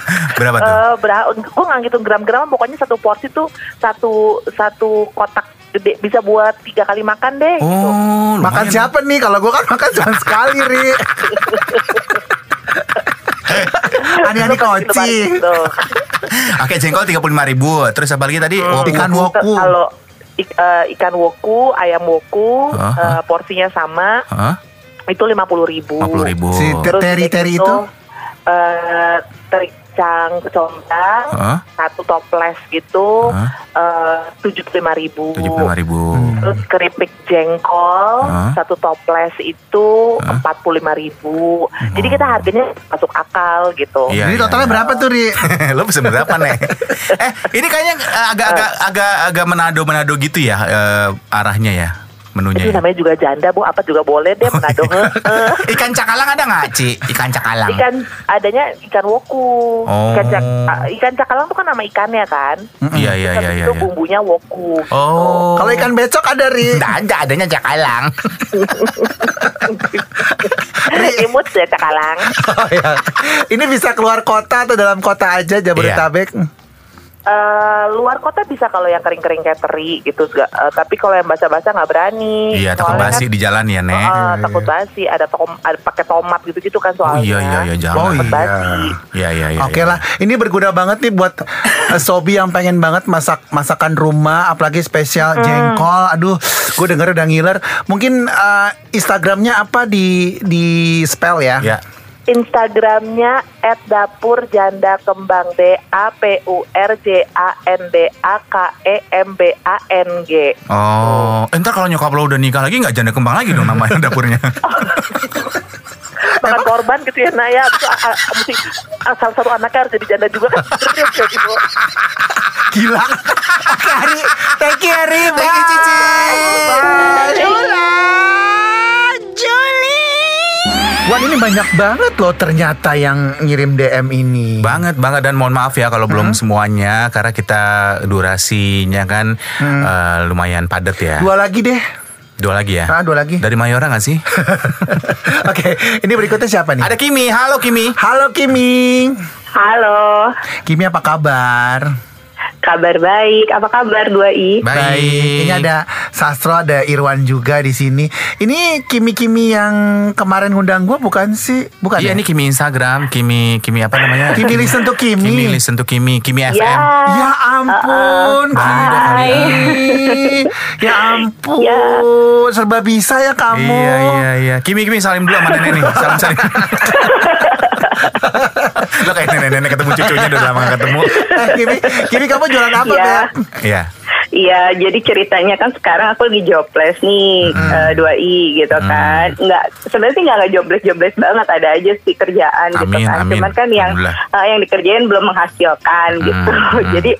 [SPEAKER 2] Berapa tuh?
[SPEAKER 3] Eh, berapa? Gue nggak ngitung gram-gram, pokoknya satu porsi tuh satu satu kotak gede bisa buat tiga kali makan deh. gitu.
[SPEAKER 2] Oh,
[SPEAKER 1] Makan siapa nih? Kalau gue kan makan cuma sekali,
[SPEAKER 3] [LAUGHS]
[SPEAKER 1] Ri. Ani-ani
[SPEAKER 3] Lu pasti lebaran
[SPEAKER 1] kocing.
[SPEAKER 2] [LAUGHS]
[SPEAKER 3] gitu.
[SPEAKER 2] Oke, jengkol 35 ribu. Terus apa lagi tadi? Woku.
[SPEAKER 1] Ikan woku.
[SPEAKER 3] Terus Kalau ik- eh, ikan woku, ayam woku,
[SPEAKER 2] Hah?
[SPEAKER 3] eh, porsinya sama,
[SPEAKER 2] Hah?
[SPEAKER 3] itu lima puluh ribu.
[SPEAKER 2] 50 ribu.
[SPEAKER 1] Si ter-
[SPEAKER 3] Terus
[SPEAKER 1] Teri-
[SPEAKER 3] udah
[SPEAKER 1] teri
[SPEAKER 3] gitu,
[SPEAKER 1] itu?
[SPEAKER 3] eh, tericang kecombrang,
[SPEAKER 2] Hah?
[SPEAKER 3] satu toples gitu,
[SPEAKER 2] Hah?
[SPEAKER 3] tujuh puluh lima ribu.
[SPEAKER 2] 75 ribu.
[SPEAKER 3] Terus keripik jengkol
[SPEAKER 2] Hah?
[SPEAKER 3] satu toples itu empat puluh lima ribu. Jadi kita harganya masuk akal gitu.
[SPEAKER 2] Hmm. Iya,
[SPEAKER 1] Jadi
[SPEAKER 2] iya,
[SPEAKER 1] totalnya
[SPEAKER 2] iya.
[SPEAKER 1] berapa tuh, Ri?
[SPEAKER 2] [LAUGHS] lo pesen berapa nih? eh, ini kayaknya eh, agak-agak agak-agak menado-menado gitu ya eh, arahnya ya
[SPEAKER 3] Itu [LAUGHS]
[SPEAKER 2] menunya. Ya.
[SPEAKER 3] namanya juga janda bu, apa juga
[SPEAKER 2] Oh,
[SPEAKER 3] boleh
[SPEAKER 2] iya.
[SPEAKER 3] deh menado.
[SPEAKER 2] [LAUGHS]
[SPEAKER 3] Heeh.
[SPEAKER 2] Ikan cakalang ada nggak, Ci? Ikan cakalang.
[SPEAKER 3] ikan adanya ikan woku,
[SPEAKER 2] Oh.
[SPEAKER 3] ikan, cak- ah, ikan cakalang tuh kan nama ikannya kan.
[SPEAKER 2] Iya, iya, iya, iya.
[SPEAKER 3] itu
[SPEAKER 2] iya.
[SPEAKER 3] bumbunya woku. gitu. [LAUGHS]
[SPEAKER 2] Oh.
[SPEAKER 1] Kalau ikan becok ada,
[SPEAKER 2] [LAUGHS]
[SPEAKER 1] Ri.
[SPEAKER 2] Nggak ada, adanya cakalang.
[SPEAKER 3] imut ya cakalang.
[SPEAKER 1] Oh,
[SPEAKER 2] iya.
[SPEAKER 1] ya. Ini bisa keluar kota atau dalam kota aja Jabodetabek.
[SPEAKER 2] Iya,
[SPEAKER 3] Eh, luar kota bisa kalau yang kering-kering kayak teri gitu, nggak- eh, tapi kalau yang basah-basah nggak berani.
[SPEAKER 2] Iya, takut
[SPEAKER 3] Soalnya
[SPEAKER 2] basi
[SPEAKER 3] kan-
[SPEAKER 2] di jalan ya,
[SPEAKER 3] Heeh,
[SPEAKER 2] Nek.
[SPEAKER 3] takut basi, ada tom, ada pakai tomat gitu-gitu kan soalnya.
[SPEAKER 2] Oh iya, iya, iya, jangan.
[SPEAKER 1] Oh,
[SPEAKER 3] Takut
[SPEAKER 1] iya.
[SPEAKER 3] basi.
[SPEAKER 2] Iya, iya, iya.
[SPEAKER 1] Oke
[SPEAKER 2] iya.
[SPEAKER 1] lah, ini berguna banget nih buat eh, Sobi yang pengen banget masak masakan rumah, apalagi
[SPEAKER 3] Mm.
[SPEAKER 1] spesial jengkol. Aduh, gue denger udah ngiler. Mungkin eh, Instagramnya apa di di spell ya?
[SPEAKER 2] Ya.
[SPEAKER 3] Instagramnya at dapur janda kembang D A P U R J A N D A K E M B A N G.
[SPEAKER 2] Oh, eh, ntar kalau nyokap lo udah nikah lagi nggak janda kembang lagi dong namanya
[SPEAKER 1] [LAUGHS]
[SPEAKER 2] dapurnya.
[SPEAKER 3] Makan korban gitu ya Naya. Abis itu, ah, ah, mesti, ah, salah satu anaknya harus jadi janda
[SPEAKER 2] [LAUGHS]
[SPEAKER 3] juga kan. Serius ya gitu.
[SPEAKER 1] [LAUGHS] Gila. Oke, Ari. Thank you, Ari. Bye. Thank you, Cici. Wah ini banyak banget loh ternyata yang ngirim DM ini.
[SPEAKER 2] banget banget dan mohon maaf ya kalau
[SPEAKER 1] Hmm.
[SPEAKER 2] belum semuanya karena kita durasinya kan eh, lumayan padat ya.
[SPEAKER 1] Hmm. Dua lagi deh.
[SPEAKER 2] Dua lagi ya.
[SPEAKER 1] Ah, dua lagi. Hmm.
[SPEAKER 2] Dari Mayora nggak sih?
[SPEAKER 1] [LAUGHS] Oke, ini berikutnya siapa nih?
[SPEAKER 2] Ada Kimi. Halo Kimi.
[SPEAKER 1] Halo Kimi.
[SPEAKER 3] Halo,
[SPEAKER 1] Kimi apa kabar?
[SPEAKER 3] kabar baik. Apa kabar dua i?
[SPEAKER 2] Baik.
[SPEAKER 1] Ini ada Sastro, ada Irwan juga di sini. Ini kimi-kimi yang kemarin ngundang gue bukan sih? Bukan
[SPEAKER 2] Iya
[SPEAKER 1] ya?
[SPEAKER 2] ini Kimi Instagram, Kimi Kimi apa namanya?
[SPEAKER 1] Kimi listen to Kimi.
[SPEAKER 2] Kimi listen to Kimi, Kimi FM.
[SPEAKER 1] Ya ampun,
[SPEAKER 2] Ah, Hai.
[SPEAKER 1] gila kali. [LAUGHS] Ya ampun, serba bisa ya kamu.
[SPEAKER 2] Iya iya iya. Kimi Kimi salim dulu sama nenek nih. Salam
[SPEAKER 1] [LAUGHS]
[SPEAKER 2] salim. Lo kayak nenek-nenek ketemu cucunya udah lama gak ketemu.
[SPEAKER 1] Eh, Kimi, Kimi kamu jualan apa,
[SPEAKER 5] Iya.
[SPEAKER 1] Beb?
[SPEAKER 2] Iya.
[SPEAKER 5] Iya, jadi ceritanya kan sekarang aku lagi jobless nih, eh, 2i gitu kan. Enggak, sebenarnya sih enggak jobless-jobless banget, ada aja sih kerjaan gitu
[SPEAKER 2] Amin,
[SPEAKER 5] kan.
[SPEAKER 2] amin.
[SPEAKER 5] Cuman kan yang
[SPEAKER 2] Alhamdulillah.
[SPEAKER 5] eh, yang dikerjain belum menghasilkan gitu.
[SPEAKER 2] Hmm,
[SPEAKER 5] [LAUGHS] jadi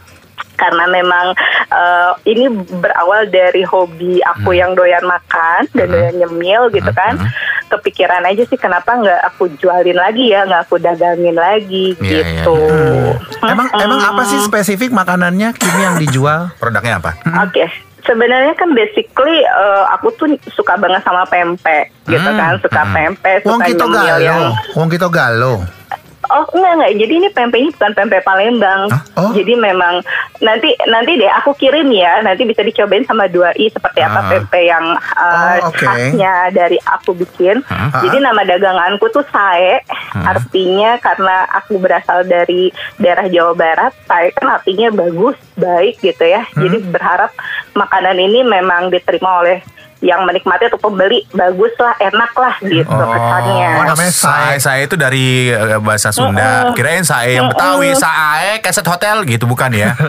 [SPEAKER 5] karena memang eh, ini berawal dari hobi aku
[SPEAKER 2] Mm.
[SPEAKER 5] yang doyan makan dan doyan nyemil gitu kan. Kepikiran aja sih kenapa nggak aku jualin lagi ya, nggak aku dagangin lagi
[SPEAKER 2] Iya, iya,
[SPEAKER 5] gitu.
[SPEAKER 1] Emang emang apa sih spesifik makanannya Kimi yang dijual?
[SPEAKER 2] Produknya apa?
[SPEAKER 1] Mm-hmm.
[SPEAKER 5] Oke. Sebenarnya kan basically eh, aku tuh suka banget sama pempek gitu kan, suka pempek, suka
[SPEAKER 1] Mm-hmm. Wong kita
[SPEAKER 5] nyemil
[SPEAKER 1] galo,
[SPEAKER 5] yang
[SPEAKER 1] Wong kita galo.
[SPEAKER 3] Oh enggak enggak. Jadi ini pempek ini bukan pempek Palembang.
[SPEAKER 1] Hah? Oh.
[SPEAKER 3] Jadi memang nanti nanti deh aku kirim ya. Nanti bisa dicobain sama dua i seperti apa
[SPEAKER 2] Ah.
[SPEAKER 3] pempek yang uh,
[SPEAKER 1] Oh, oke.
[SPEAKER 3] khasnya dari aku bikin.
[SPEAKER 1] Ah.
[SPEAKER 3] Jadi nama daganganku tuh sae. Artinya karena aku berasal dari daerah Jawa Barat, sae kan artinya bagus, baik gitu ya.
[SPEAKER 1] Hmm.
[SPEAKER 3] Jadi berharap makanan ini memang diterima oleh yang menikmati atau pembeli bagus lah, enak lah gitu kesannya.
[SPEAKER 1] Oh, namanya sae.
[SPEAKER 2] sae. Sae itu dari eh, bahasa
[SPEAKER 3] Oh,
[SPEAKER 2] Sunda. Kirain sae yang Betawi, sae keset hotel gitu bukan ya?
[SPEAKER 1] [LAUGHS]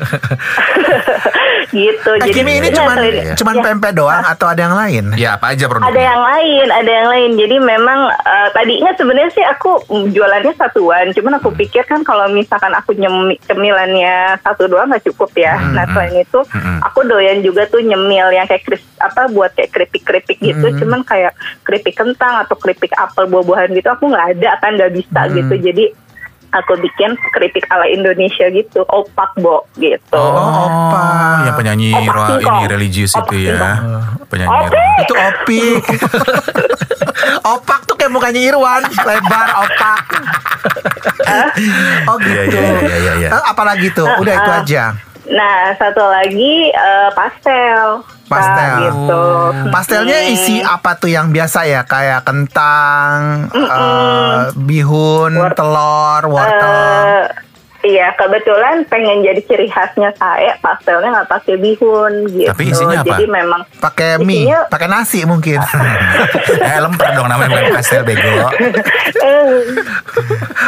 [SPEAKER 3] gitu.
[SPEAKER 1] Eh, Kimi ini
[SPEAKER 3] ya,
[SPEAKER 1] cuman
[SPEAKER 3] selain-
[SPEAKER 1] cuman
[SPEAKER 3] ya,
[SPEAKER 1] pempek doang atau ada yang lain?
[SPEAKER 2] ya apa aja produknya?
[SPEAKER 3] ada yang lain, ada yang lain. Jadi memang eh, tadinya sebenarnya sih aku jualannya satuan, cuman
[SPEAKER 1] Hmm.
[SPEAKER 3] aku pikir kan kalau misalkan aku nyemi, cemilannya satu doang nggak cukup ya.
[SPEAKER 1] Hmm,
[SPEAKER 3] Nah selain itu aku doyan juga tuh nyemil yang kayak kris, apa buat kayak keripik-keripik gitu,
[SPEAKER 1] Hmm.
[SPEAKER 3] cuman kayak keripik kentang atau keripik apel buah-buahan gitu aku nggak ada kan nggak bisa
[SPEAKER 1] Hmm.
[SPEAKER 3] gitu. Jadi aku bikin keripik ala Indonesia gitu, opak bo gitu.
[SPEAKER 1] Oh, opa.
[SPEAKER 2] Ah, yang penyanyi
[SPEAKER 3] Opak
[SPEAKER 2] ra- ini
[SPEAKER 3] Singkong.
[SPEAKER 2] religius
[SPEAKER 3] Opak
[SPEAKER 2] itu ya. Penyanyi.
[SPEAKER 3] Oke.
[SPEAKER 2] ra-
[SPEAKER 1] Itu opik. [LAUGHS] opak tuh kayak mukanya Irwan, lebar opak. oh
[SPEAKER 2] Iya,
[SPEAKER 1] gitu.
[SPEAKER 2] iya, iya, iya, iya.
[SPEAKER 1] Eh, Apalagi tuh, udah itu
[SPEAKER 3] Ah.
[SPEAKER 1] aja.
[SPEAKER 3] Nah, satu lagi eh, pastel. Kak,
[SPEAKER 1] Pastel. Oh.
[SPEAKER 3] gitu. Hmm.
[SPEAKER 1] Pastelnya isi apa tuh yang biasa ya? Kayak kentang, eh, bihun, telur, wortel.
[SPEAKER 3] Eh, Iya, kebetulan pengen jadi ciri khasnya saya pastelnya nggak pakai bihun gitu.
[SPEAKER 2] Tapi isinya apa?
[SPEAKER 3] Jadi memang
[SPEAKER 1] pakai mie,
[SPEAKER 3] isinya-
[SPEAKER 1] pakai nasi mungkin.
[SPEAKER 2] [LAUGHS] eh lemper dong namanya bukan pastel bego. [LAUGHS]
[SPEAKER 3] eh,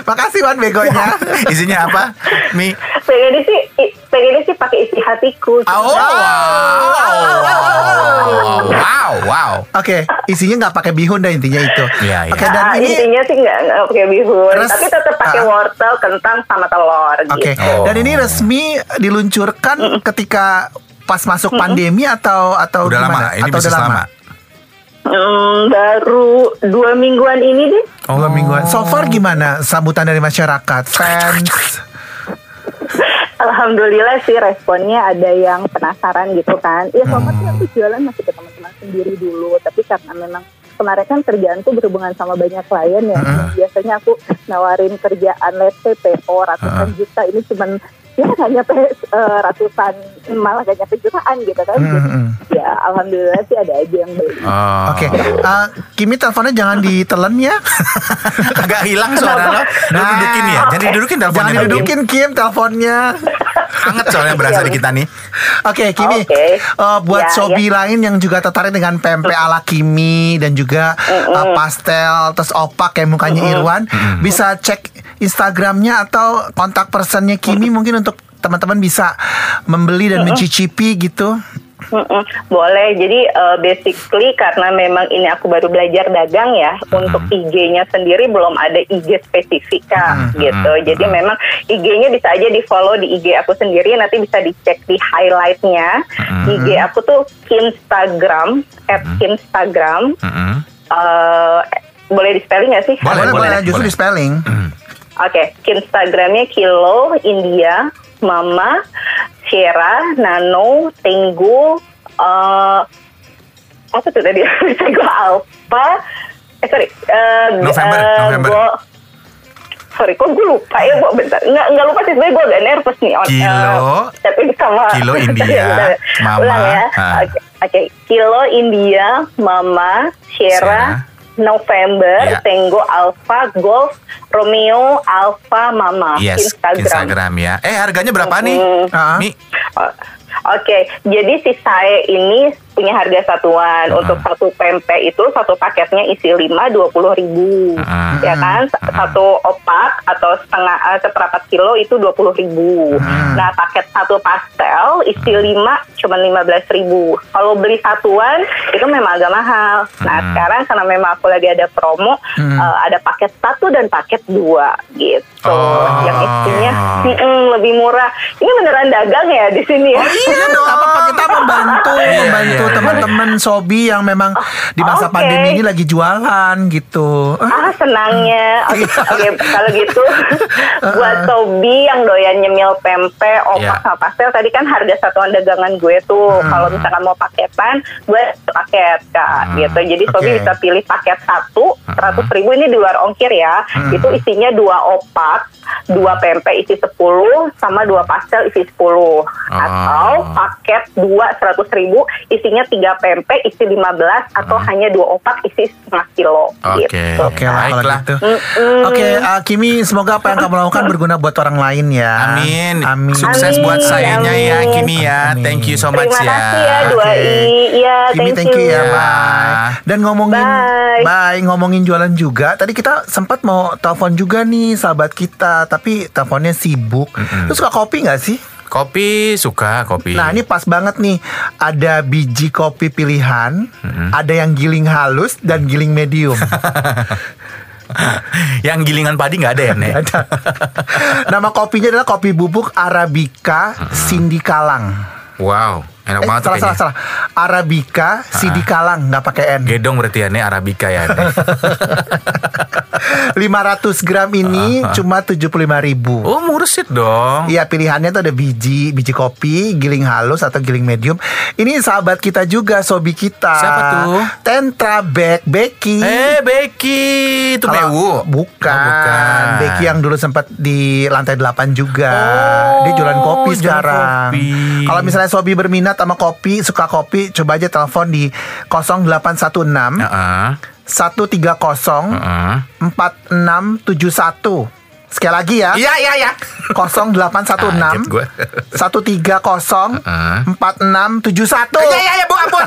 [SPEAKER 1] Makasih Wan begonya.
[SPEAKER 2] Isinya apa? Mie.
[SPEAKER 3] pengennya sih i- pengennya sih pakai isi hatiku.
[SPEAKER 2] Oh, wow. Wow, wow. wow.
[SPEAKER 1] Oke, isinya nggak pakai bihun dah intinya itu.
[SPEAKER 2] Iya, iya.
[SPEAKER 1] Oke, Ya, dan
[SPEAKER 3] Ah,
[SPEAKER 1] ini
[SPEAKER 3] intinya sih nggak nggak pakai bihun,
[SPEAKER 1] Terus-
[SPEAKER 3] tapi tetap pakai
[SPEAKER 1] ah.
[SPEAKER 3] wortel, kentang sama telur.
[SPEAKER 1] Oke,
[SPEAKER 3] Gitu.
[SPEAKER 2] Oh.
[SPEAKER 1] dan ini resmi diluncurkan ketika pas masuk pandemi atau atau
[SPEAKER 2] Udah lama,
[SPEAKER 1] gimana?
[SPEAKER 2] ini
[SPEAKER 1] atau
[SPEAKER 2] bisnis lama.
[SPEAKER 3] Hmm, baru dua mingguan ini deh.
[SPEAKER 2] Oh,
[SPEAKER 1] Oh. Dua mingguan. So far gimana sambutan dari masyarakat, fans?
[SPEAKER 3] Alhamdulillah sih responnya ada yang penasaran gitu kan. Iya selama sih aku jualan masih ke teman-teman sendiri dulu. Tapi karena memang kemarin kan kerjaanku berhubungan sama banyak klien ya.
[SPEAKER 4] Ah.
[SPEAKER 3] Biasanya aku nawarin kerjaan let's say PO ratusan juta. Ini cuman ya gak nyampe eh, ratusan malah gak nyampe jutaan gitu kan. Jadi, Ya alhamdulillah sih ada aja yang beli.
[SPEAKER 2] Oh.
[SPEAKER 1] Oke, eh, Kimi teleponnya jangan ditelen ya.
[SPEAKER 2] [LAUGHS] Agak hilang suara lo. Lo dudukin ya. Jadi dudukin [LAUGHS] teleponnya.
[SPEAKER 1] Jangan
[SPEAKER 2] Kim.
[SPEAKER 1] didudukin Kim teleponnya.
[SPEAKER 2] Anget soalnya berasa di kita nih.
[SPEAKER 1] Oke, Kimi.
[SPEAKER 3] Oke.
[SPEAKER 1] eh, buat
[SPEAKER 3] Ya,
[SPEAKER 1] sobi lain yang juga tertarik dengan pempek ala Kimi dan juga eh, pastel terus opak kayak mukanya Irwan, bisa cek Instagramnya atau kontak personnya Kimi mungkin untuk teman-teman bisa membeli dan mencicipi gitu.
[SPEAKER 3] Mm-mm, Boleh, jadi uh, basically karena memang ini aku baru belajar dagang ya Untuk IG-nya sendiri belum ada IG spesifika gitu Jadi memang IG-nya bisa aja di follow di IG aku sendiri Nanti bisa dicek di highlight-nya IG aku tuh Instagram, at Instagram
[SPEAKER 2] Mm-mm.
[SPEAKER 3] Boleh di spelling nggak sih?
[SPEAKER 2] Boleh,
[SPEAKER 1] Boleh, boleh,
[SPEAKER 2] boleh,
[SPEAKER 1] justru
[SPEAKER 2] boleh.
[SPEAKER 1] di spelling.
[SPEAKER 3] Oke, Instagramnya Kilo India Mama Sierra Nano Tenggu eh apa tuh tadi [LAUGHS] Tenggu Alpha eh sorry eh,
[SPEAKER 2] November,
[SPEAKER 3] eh,
[SPEAKER 2] November.
[SPEAKER 3] gua- sorry kok gue lupa ya gue bentar nggak nggak lupa sih sebenarnya gue agak nervous nih on-
[SPEAKER 2] Kilo,
[SPEAKER 3] eh, tapi sama [LAUGHS]
[SPEAKER 2] Kilo India,
[SPEAKER 3] Bentar,
[SPEAKER 2] Mama,
[SPEAKER 3] ulang ya
[SPEAKER 2] ah.
[SPEAKER 3] oke oke. Kilo India Mama
[SPEAKER 2] Sierra.
[SPEAKER 3] Sierra November,
[SPEAKER 2] Iya.
[SPEAKER 3] Tenggo Alpha Golf, Romeo Alpha Mama,
[SPEAKER 2] Yes, Instagram.
[SPEAKER 3] Instagram.
[SPEAKER 2] ya. Eh harganya berapa nih?
[SPEAKER 1] Ah.
[SPEAKER 2] Mi?
[SPEAKER 3] O- Oke, jadi si saya ini punya harga satuan. Untuk satu pempek itu satu paketnya isi 5 20 ribu.
[SPEAKER 2] Mm-mm.
[SPEAKER 3] Ya kan? Sa- Satu opak atau setengah eh, seperempat kilo itu 20 ribu. Nah, paket satu pastel isi 5 cuma 15 ribu. Kalau beli satuan itu memang agak mahal. Nah, sekarang karena memang aku lagi ada promo, eh, ada paket satu dan paket dua gitu.
[SPEAKER 2] Oh.
[SPEAKER 3] Yang isinya mm-mm, lebih murah. Ini beneran dagang ya di sini ya?
[SPEAKER 1] Oh Iya dong. Iya Apa-apa kita membantu,
[SPEAKER 2] Iya,
[SPEAKER 1] membantu
[SPEAKER 2] iya,
[SPEAKER 1] tuh teman-teman Sobi yang memang di masa
[SPEAKER 6] Oke.
[SPEAKER 1] pandemi ini lagi jualan gitu. Eh,
[SPEAKER 6] Ah senangnya. Oke, oke, kalau gitu buat Sobi yang doyan nyemil pempek, opak
[SPEAKER 2] Iya.
[SPEAKER 6] sama pastel tadi kan harga satuan dagangan gue tuh kalau misalkan mau paketan, gue paket kak gitu. Jadi Sobi
[SPEAKER 1] oke.
[SPEAKER 6] bisa pilih paket satu seratus ribu ini di luar ongkir ya. Itu isinya dua opak, dua pempek isi 10 sama dua pastel isi 10 atau paket dua seratus ribu isinya tiga pempek isi 15 atau hanya dua opak isi setengah kilo.
[SPEAKER 2] Oke.
[SPEAKER 6] gitu.
[SPEAKER 1] Oke lah kalau
[SPEAKER 2] Baiklah.
[SPEAKER 1] gitu. Oke, eh, Kimi, semoga apa yang kamu lakukan berguna buat orang lain ya.
[SPEAKER 2] Amin.
[SPEAKER 1] Amin.
[SPEAKER 2] Sukses
[SPEAKER 6] Amin,
[SPEAKER 2] buat sayanya ya,
[SPEAKER 6] amin.
[SPEAKER 2] Kimi ya.
[SPEAKER 1] Amin.
[SPEAKER 2] Thank you so much
[SPEAKER 6] Terima
[SPEAKER 2] ya.
[SPEAKER 6] kasih ya, dua
[SPEAKER 1] Oke.
[SPEAKER 6] i. Iya,
[SPEAKER 1] Kimi,
[SPEAKER 6] thank,
[SPEAKER 1] thank you ya,
[SPEAKER 2] you.
[SPEAKER 1] bye. Dan ngomongin,
[SPEAKER 6] Bye.
[SPEAKER 1] bye, ngomongin jualan juga. Tadi kita sempat mau telepon juga nih sahabat kita, tapi teleponnya sibuk. Terus suka kopi nggak sih?
[SPEAKER 2] Kopi suka kopi.
[SPEAKER 1] Nah ini pas banget nih Ada biji kopi pilihan Ada yang giling halus Dan giling medium
[SPEAKER 2] [LAUGHS] yang gilingan padi nggak ada ya, Nek?
[SPEAKER 1] Ada. Nama kopinya adalah kopi bubuk Arabica Sindikalang
[SPEAKER 2] Wow, enak
[SPEAKER 1] Eh
[SPEAKER 2] banget tuh
[SPEAKER 1] salah
[SPEAKER 2] kayaknya.
[SPEAKER 1] salah
[SPEAKER 2] Ah.
[SPEAKER 1] salah Arabica Sindikalang nggak pakai N
[SPEAKER 2] Gedong berarti ya, Nek, Arabica ya.
[SPEAKER 1] [LAUGHS]
[SPEAKER 2] Nek.
[SPEAKER 1] 500 gram ini cuma 75 ribu
[SPEAKER 2] Ah, oh, mursid dong.
[SPEAKER 1] Iya pilihannya tuh ada biji Biji kopi Giling halus atau giling medium Ini sahabat kita juga Sobi kita
[SPEAKER 2] Siapa tuh?
[SPEAKER 1] Tentra Beck Becky
[SPEAKER 2] Eh, Becky, itu
[SPEAKER 1] Kalau-
[SPEAKER 2] Mewu.
[SPEAKER 1] Bukan.
[SPEAKER 2] Oh, bukan.
[SPEAKER 1] Becky yang dulu sempat di lantai 8 juga.
[SPEAKER 2] Oh,
[SPEAKER 1] Dia jualan kopi
[SPEAKER 2] jualan
[SPEAKER 1] sekarang.
[SPEAKER 2] kopi.
[SPEAKER 1] Kalau misalnya Sobi berminat sama kopi, suka kopi, coba aja telepon di 0816
[SPEAKER 2] Heeh.
[SPEAKER 1] 130
[SPEAKER 2] heeh.
[SPEAKER 1] 4671. Sekali lagi ya.
[SPEAKER 2] Iya, iya, iya.
[SPEAKER 1] 0816
[SPEAKER 2] Kaget gue.
[SPEAKER 1] 130 4671.
[SPEAKER 2] Iya, iya, iya, Bu,
[SPEAKER 1] [LAUGHS]
[SPEAKER 2] ampun.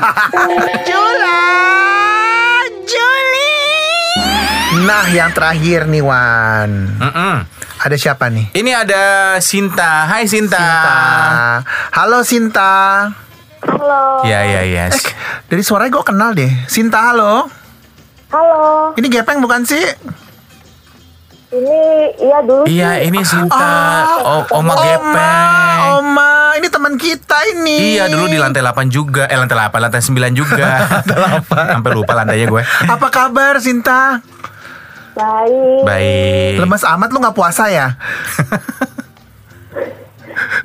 [SPEAKER 1] Nah, yang terakhir nih Wan.
[SPEAKER 2] [LAUGHS] Mm-mm.
[SPEAKER 1] Ada siapa nih?
[SPEAKER 2] Ini ada Sinta. Hai Sinta.
[SPEAKER 1] Sinta. Halo Sinta.
[SPEAKER 4] Halo.
[SPEAKER 2] Ya,
[SPEAKER 1] Oh,
[SPEAKER 2] ya, ya.
[SPEAKER 1] Dari suaranya gue kenal deh. Sinta halo.
[SPEAKER 4] Halo.
[SPEAKER 1] Ini gepeng bukan sih?
[SPEAKER 4] Ini iya dulu.
[SPEAKER 2] Iya,
[SPEAKER 4] sih.
[SPEAKER 2] ini Sinta.
[SPEAKER 1] Ah,
[SPEAKER 2] Oh, Oma Gepeng.
[SPEAKER 1] Oma, ini teman kita ini.
[SPEAKER 2] Iya dulu di lantai 8 juga Eh lantai 8 Lantai 9
[SPEAKER 1] [LAUGHS]
[SPEAKER 2] juga Sampai lupa lantainya gue
[SPEAKER 1] Apa kabar Sinta?
[SPEAKER 4] Baik.
[SPEAKER 2] Baik
[SPEAKER 1] Lemes amat lu nggak puasa ya?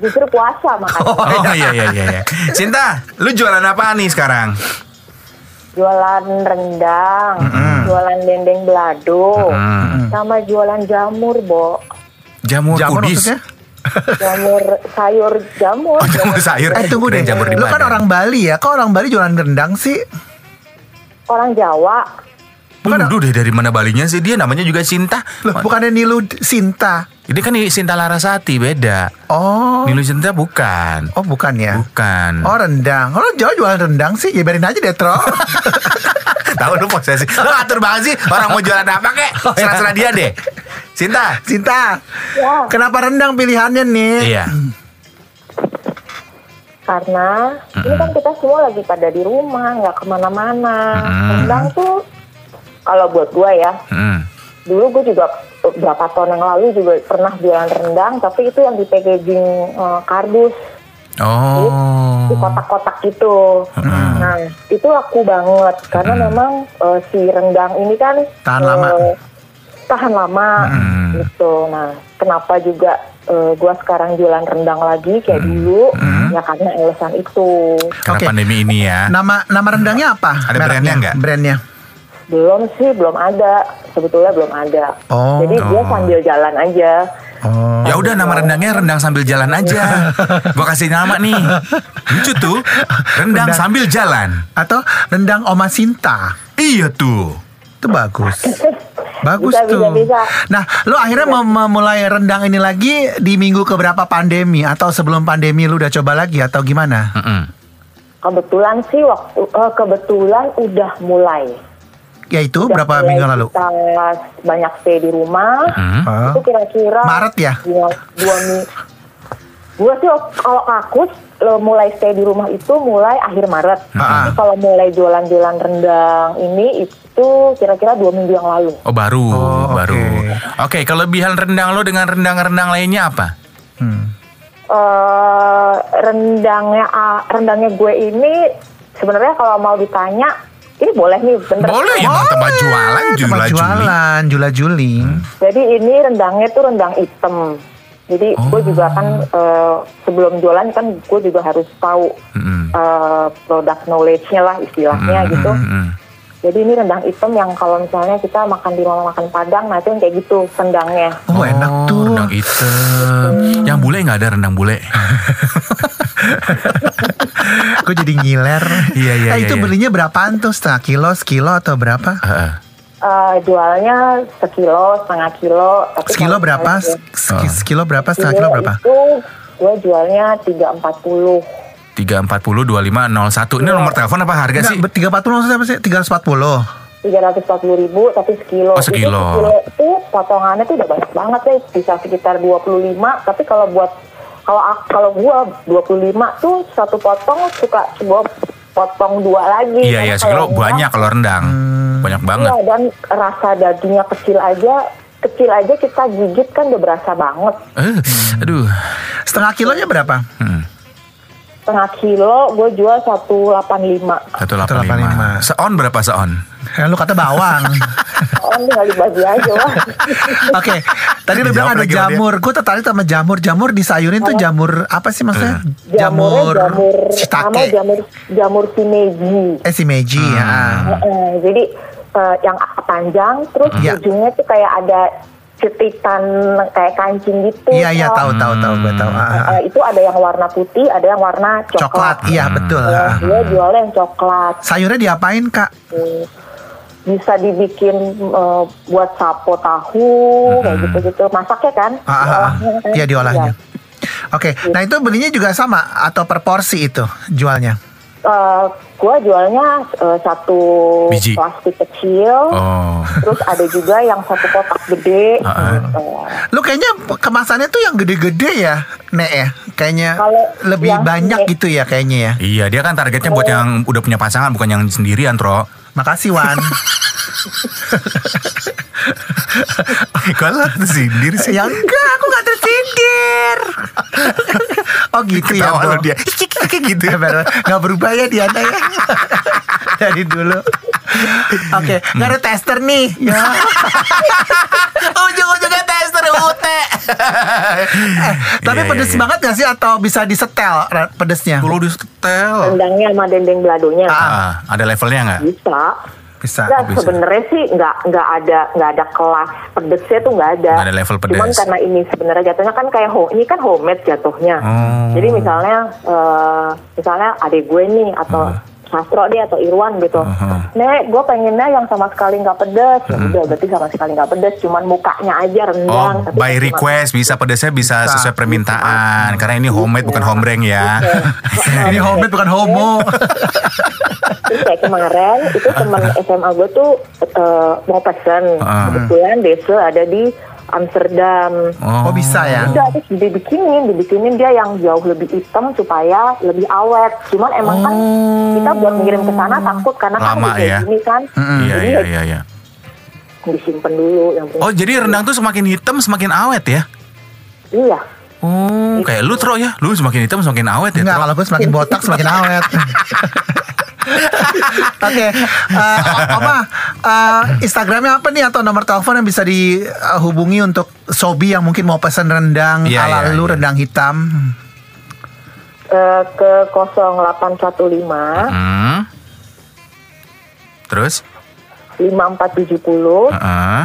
[SPEAKER 4] Justru puasa makanya
[SPEAKER 2] Oh, iya iya iya iya. Sinta Lu jualan apa nih sekarang?
[SPEAKER 4] jualan rendang, jualan dendeng belado, sama jualan jamur,
[SPEAKER 2] [LAUGHS]
[SPEAKER 4] Bo.
[SPEAKER 2] Jamur,
[SPEAKER 1] Jamur
[SPEAKER 2] kudis
[SPEAKER 1] maksudnya?
[SPEAKER 4] Jamur sayur jamur.
[SPEAKER 2] Oh jamur sayur
[SPEAKER 1] Eh tunggu
[SPEAKER 2] Kirain
[SPEAKER 1] deh.
[SPEAKER 2] jamur di
[SPEAKER 1] Lu kan
[SPEAKER 2] badan.
[SPEAKER 1] orang Bali ya? Kok orang Bali jualan rendang sih?
[SPEAKER 4] Orang Jawa.
[SPEAKER 2] Bukan Aduh deh dari mana balinya sih dia namanya juga Sinta
[SPEAKER 1] Loh, bukannya Nilu D- Sinta.
[SPEAKER 2] Ini kan Sinta Larasati beda
[SPEAKER 1] Oh.
[SPEAKER 2] Nilu Sinta bukan
[SPEAKER 1] Oh bukan ya?
[SPEAKER 2] Bukan
[SPEAKER 1] Oh rendang. Kalau Jawa jualan rendang sih, ya biarin aja deh, Tro.
[SPEAKER 2] [LAUGHS] Tahu lu posesif Lu atur banget sih Orang mau jualan apa kek Serah-serah dia deh Sinta
[SPEAKER 1] Sinta,
[SPEAKER 4] Ya,
[SPEAKER 1] kenapa rendang pilihannya nih?
[SPEAKER 2] Iya
[SPEAKER 4] karena ini kan kita semua lagi pada di rumah, nggak kemana-mana. Rendang tuh kalau buat gua ya,
[SPEAKER 2] Mm.
[SPEAKER 4] dulu gue juga beberapa tahun yang lalu juga pernah jualan rendang, tapi itu yang di packaging eh, kardus
[SPEAKER 2] Oh
[SPEAKER 4] di
[SPEAKER 1] Hmm.
[SPEAKER 4] kotak-kotak gitu. Nah, itu laku banget karena memang eh, si rendang ini kan
[SPEAKER 1] Hmm. Tahan
[SPEAKER 4] eh,
[SPEAKER 1] lama. Hmm.
[SPEAKER 4] tahan lama gitu. Nah, kenapa juga eh, gua sekarang jualan rendang lagi kayak
[SPEAKER 1] Hmm.
[SPEAKER 4] dulu? Ya karena alasan itu
[SPEAKER 2] Karena
[SPEAKER 1] Oke.
[SPEAKER 2] pandemi ini ya.
[SPEAKER 1] Nama nama rendangnya apa?
[SPEAKER 2] Ada
[SPEAKER 1] Mereknya,
[SPEAKER 2] brandnya nggak?
[SPEAKER 1] Brandnya.
[SPEAKER 4] belum sih belum ada sebetulnya belum ada.
[SPEAKER 1] Oh.
[SPEAKER 4] Jadi dia
[SPEAKER 2] Oh.
[SPEAKER 4] sambil jalan aja.
[SPEAKER 1] Oh.
[SPEAKER 2] Ya udah nama rendangnya rendang sambil jalan aja. Gua kasih nama nih. Lucu tuh. Rendang
[SPEAKER 1] Rendang.
[SPEAKER 2] sambil jalan.
[SPEAKER 1] Atau rendang Oma Sinta.
[SPEAKER 2] Iya tuh.
[SPEAKER 1] Itu
[SPEAKER 4] [LAUGHS]
[SPEAKER 1] bagus. Bagus
[SPEAKER 4] Bisa, bisa,
[SPEAKER 1] tuh.
[SPEAKER 4] bisa.
[SPEAKER 1] Nah, lu akhirnya mem- memulai rendang ini lagi di minggu keberapa pandemi atau sebelum pandemi lu udah coba lagi atau gimana?
[SPEAKER 2] Mm-mm.
[SPEAKER 4] Kebetulan sih waktu eh, kebetulan udah mulai.
[SPEAKER 1] Yaitu
[SPEAKER 4] Udah
[SPEAKER 1] Ya, berapa
[SPEAKER 4] mulai
[SPEAKER 1] minggu lalu?
[SPEAKER 4] Kita banyak stay di rumah.
[SPEAKER 1] Oh.
[SPEAKER 4] Itu kira-kira
[SPEAKER 1] Maret ya?
[SPEAKER 4] Dua, dua minggu. Gue sih wak- kalau aku lo mulai stay di rumah itu mulai akhir Maret.
[SPEAKER 1] Hmm. Ah.
[SPEAKER 4] Tapi kalau mulai jualan-jualan rendang ini itu kira-kira dua minggu yang lalu.
[SPEAKER 2] Oh baru,
[SPEAKER 1] Oh,
[SPEAKER 2] baru.
[SPEAKER 1] oke.
[SPEAKER 2] Oke, kelebihan rendang lo dengan rendang-rendang lainnya apa?
[SPEAKER 1] Hmm.
[SPEAKER 4] eh rendangnya ah, rendangnya gue ini sebenarnya kalau mau ditanya ini boleh nih bener.
[SPEAKER 2] Boleh ya Tante tempat jualan Jula
[SPEAKER 1] Tempat
[SPEAKER 2] Juli. Hmm.
[SPEAKER 1] jualan, Jula Juli.
[SPEAKER 4] Jadi ini rendangnya tuh rendang hitam. Jadi gue juga kan
[SPEAKER 1] Ah.
[SPEAKER 4] eh, sebelum jualan kan gue juga harus tahu
[SPEAKER 2] Mm-mm.
[SPEAKER 4] produk knowledge-nya lah istilahnya
[SPEAKER 1] Hmm.
[SPEAKER 2] Mm-mm,
[SPEAKER 4] gitu.
[SPEAKER 2] mm-mm.
[SPEAKER 4] Jadi ini rendang hitam yang kalau misalnya kita makan di rumah makan Padang, nah itu yang kayak gitu rendangnya.
[SPEAKER 1] Oh, enak tuh. [LAUGHS]
[SPEAKER 2] Rendang hitam. Yang bule nggak ada rendang bule.
[SPEAKER 1] Gue jadi ngiler.
[SPEAKER 2] Iya, iya,
[SPEAKER 1] Eh,
[SPEAKER 2] iya,
[SPEAKER 1] Itu
[SPEAKER 2] iya.
[SPEAKER 1] belinya berapaan tuh? Setengah kilo, sekilo atau berapa?
[SPEAKER 2] Heeh.
[SPEAKER 4] Eh, jualnya sekilo, setengah kilo. Tapi
[SPEAKER 1] Sekilo
[SPEAKER 4] kalau
[SPEAKER 1] berapa?
[SPEAKER 4] misalnya
[SPEAKER 1] Sek- sek-
[SPEAKER 2] Oh.
[SPEAKER 1] Sekilo berapa? Setengah kilo berapa?
[SPEAKER 4] Itu gue jualnya 340.
[SPEAKER 2] 340 2501. Ini nomor telepon apa harga sih?
[SPEAKER 1] Iya. Enggak, 340 maksudnya apa sih? 340.
[SPEAKER 4] 340 ribu tapi sekilo.
[SPEAKER 2] Oh, sekilo.
[SPEAKER 4] Itu sekilo itu potongannya tuh udah banyak banget ya. Bisa sekitar 25. Tapi kalau buat kalau ak- kalau gua 25 tuh satu potong suka gua potong dua lagi.
[SPEAKER 2] Iya
[SPEAKER 4] Karena
[SPEAKER 2] iya sekilo
[SPEAKER 4] kalau enggak,
[SPEAKER 2] banyak kalau rendang.
[SPEAKER 1] Hmm.
[SPEAKER 2] Banyak banget.
[SPEAKER 4] Iya dan rasa dagingnya kecil aja kecil aja kita gigit kan udah berasa banget.
[SPEAKER 1] Iya.
[SPEAKER 2] Eh,
[SPEAKER 1] Hmm.
[SPEAKER 2] aduh.
[SPEAKER 1] Setengah kilonya berapa?
[SPEAKER 2] Hmm.
[SPEAKER 4] Setengah kilo gue jual
[SPEAKER 2] [LAUGHS]
[SPEAKER 4] 185.
[SPEAKER 2] 185.
[SPEAKER 1] 185.
[SPEAKER 2] Seon berapa seon?
[SPEAKER 1] Eh, lu kata
[SPEAKER 2] [LAUGHS]
[SPEAKER 1] bawang.
[SPEAKER 4] Oh tinggal dibagi aja wah.
[SPEAKER 1] Oke, tadi lu
[SPEAKER 2] Dijawab
[SPEAKER 1] bilang ada
[SPEAKER 2] lagi sama dia.
[SPEAKER 1] jamur. Gue tertarik sama jamur. Jamur disayurin tuh jamur apa sih
[SPEAKER 2] Eh.
[SPEAKER 1] maksudnya?
[SPEAKER 4] Jamurnya jamur, nama
[SPEAKER 1] shiitake.
[SPEAKER 4] jamur jamur shimeji.
[SPEAKER 1] Eh si Meiji
[SPEAKER 2] Hmm.
[SPEAKER 1] ya.
[SPEAKER 4] Eh, jadi eh, yang panjang terus
[SPEAKER 1] Iya.
[SPEAKER 4] ujungnya tuh kayak ada cetitan kayak kancing gitu.
[SPEAKER 1] Iya iya
[SPEAKER 4] Kak.
[SPEAKER 1] tahu tahu tahu gue tahu. Ah, ah.
[SPEAKER 4] Eh, itu ada yang warna putih, ada yang warna
[SPEAKER 1] Coklat,
[SPEAKER 4] coklat.
[SPEAKER 1] iya betul.
[SPEAKER 4] Eh,
[SPEAKER 1] Ah.
[SPEAKER 4] dia jualnya yang coklat.
[SPEAKER 1] Sayurnya diapain kak?
[SPEAKER 4] Bisa dibikin eh, buat sapo tahu kayak gitu-gitu. Masaknya kan?
[SPEAKER 1] Ah, ah, ah.
[SPEAKER 4] Olahnya kan?
[SPEAKER 1] Iya diolahnya.
[SPEAKER 4] Iya.
[SPEAKER 1] Oke, nah itu belinya juga sama atau per porsi itu jualnya?
[SPEAKER 4] Eh, gua jualnya eh, satu
[SPEAKER 2] Biji.
[SPEAKER 4] plastik kecil.
[SPEAKER 2] Oh.
[SPEAKER 4] Terus ada juga yang satu kotak gede.
[SPEAKER 2] Ah,
[SPEAKER 4] Eh,
[SPEAKER 1] Lu kayaknya kemasannya tuh yang gede-gede ya, Nek ya? Kayaknya
[SPEAKER 4] Kalau
[SPEAKER 1] lebih
[SPEAKER 4] yang
[SPEAKER 1] banyak
[SPEAKER 4] gede.
[SPEAKER 1] gitu ya kayaknya ya.
[SPEAKER 2] Iya, dia kan targetnya buat yang udah punya pasangan bukan yang sendirian,
[SPEAKER 1] [LAUGHS]
[SPEAKER 2] Tro.
[SPEAKER 1] Makasih Wan.
[SPEAKER 2] Galak sendiri
[SPEAKER 1] [LAUGHS] ya enggak, aku gak tersindir. [LAUGHS] oh gitu ya,
[SPEAKER 2] Ketawa
[SPEAKER 1] Bo.
[SPEAKER 2] lu dia.
[SPEAKER 1] Kayak gitu ya, Bel. Gak berubah ya Diana [LAUGHS] ya. Dari dulu. Oke, nggak ada tester nih. Hmm. [LAUGHS] Ya.
[SPEAKER 2] Ujung-ujungnya tester UT.
[SPEAKER 1] Eh, Tapi pedes banget gak sih atau bisa disetel ra- pedesnya?
[SPEAKER 2] Perlu di setel.
[SPEAKER 4] rendangnya sama dendeng beladonya
[SPEAKER 2] Ah, ada levelnya nggak?
[SPEAKER 4] bisa.
[SPEAKER 1] Iya. Bisa.
[SPEAKER 4] Nah,
[SPEAKER 2] bisa.
[SPEAKER 4] sebenarnya sih nggak nggak ada nggak ada kelas pedesnya tuh nggak ada.
[SPEAKER 2] Nggak ada level pedes.
[SPEAKER 4] Cuman karena ini sebenarnya jatuhnya kan kayak home, ini kan homemade jatuhnya.
[SPEAKER 2] Oh.
[SPEAKER 4] Jadi misalnya eh, misalnya adik gue nih atau Sastro deh atau Irwan gitu. Nek, gue pengennya yang sama sekali nggak pedes. Ya udah, berarti sama sekali nggak pedes. Cuman mukanya aja rendang.
[SPEAKER 2] Oh,
[SPEAKER 4] tapi
[SPEAKER 2] by
[SPEAKER 4] cuma-
[SPEAKER 2] [LAUGHS] request bisa pedasnya bisa
[SPEAKER 1] Bisa.
[SPEAKER 2] sesuai permintaan karena ini homemade bukan homereng ya. [LAUGHS]
[SPEAKER 1] Ini homemade bukan homo.
[SPEAKER 4] Terus kayak kemarin itu
[SPEAKER 2] [LAUGHS]
[SPEAKER 4] teman SMA gue tuh eh, mau pesen
[SPEAKER 2] Ah.
[SPEAKER 4] kebetulan Dese ada di Amsterdam.
[SPEAKER 1] Oh, bisa ya.
[SPEAKER 2] Iya.
[SPEAKER 4] Udah terus dibikinin, dibikinin dia yang jauh lebih hitam supaya lebih awet. Cuman emang kan kita buat ngirim ke sana takut karena kan
[SPEAKER 2] Oh. Lama
[SPEAKER 4] udah
[SPEAKER 2] ya.
[SPEAKER 4] gini kan.
[SPEAKER 2] Iya
[SPEAKER 4] Jadi
[SPEAKER 2] iya iya iya.
[SPEAKER 4] disimpan dulu yang penting.
[SPEAKER 2] Oh, jadi rendang tuh semakin hitam semakin awet ya?
[SPEAKER 4] Iya.
[SPEAKER 2] Oh, kayak lu Tro ya. Lu semakin hitam semakin awet ya,
[SPEAKER 1] Enggak,
[SPEAKER 2] Tro.
[SPEAKER 1] kalau gue semakin botak semakin awet. [LAUGHS] Oke, eh, Oma, eh, Instagramnya apa nih atau nomor telepon yang bisa dihubungi untuk Sobi yang mungkin mau pesan rendang
[SPEAKER 2] Iya,
[SPEAKER 1] ala
[SPEAKER 2] iya,
[SPEAKER 1] lu
[SPEAKER 2] iya.
[SPEAKER 1] rendang hitam.
[SPEAKER 4] Eh, ke 0815
[SPEAKER 2] Hmm. Terus?
[SPEAKER 4] 5470
[SPEAKER 2] Heeh.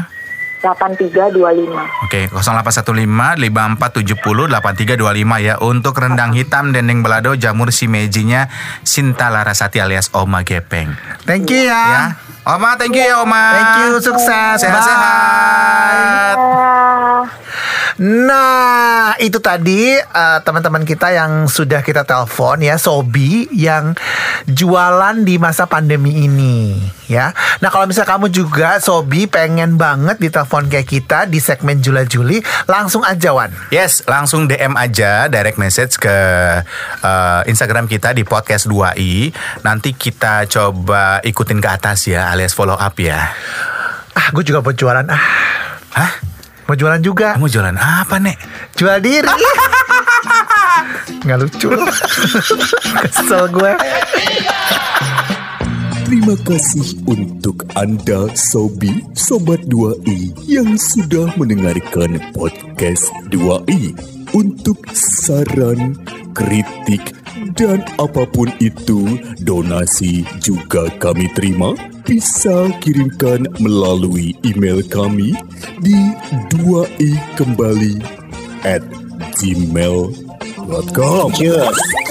[SPEAKER 4] 8325.
[SPEAKER 2] Oke, 0815 5470 8325 ya untuk rendang hitam dendeng belado jamur si mejinya Sinta Larasati alias Oma Gepeng.
[SPEAKER 1] Thank you
[SPEAKER 2] Ya.
[SPEAKER 1] ya.
[SPEAKER 2] Oma, thank you ya Oma.
[SPEAKER 1] Thank you, sukses.
[SPEAKER 2] Sehat-sehat.
[SPEAKER 4] Ah.
[SPEAKER 1] Nah, itu tadi eh, teman-teman kita yang sudah kita telepon ya, Sobi yang jualan di masa pandemi ini ya. Nah, kalau misalnya kamu juga Sobi pengen banget ditelepon kayak kita di segmen Jula Juli, langsung aja Wan.
[SPEAKER 2] Yes, langsung DM aja direct message ke eh, Instagram kita di podcast 2i. Nanti kita coba ikutin ke atas ya alias follow up ya.
[SPEAKER 1] Ah, gue juga mau jualan. Ah,
[SPEAKER 2] Hah?
[SPEAKER 1] mau jualan juga.
[SPEAKER 2] Kamu jualan apa, Nek?
[SPEAKER 1] Jual diri. Nggak lucu. Kesel gue.
[SPEAKER 7] Terima kasih untuk Anda Sobi Sobat 2i yang sudah mendengarkan podcast 2i. Untuk saran, kritik, dan apapun itu, donasi juga kami terima. Bisa kirimkan melalui email kami di 2i kembali at gmail.com. Yes.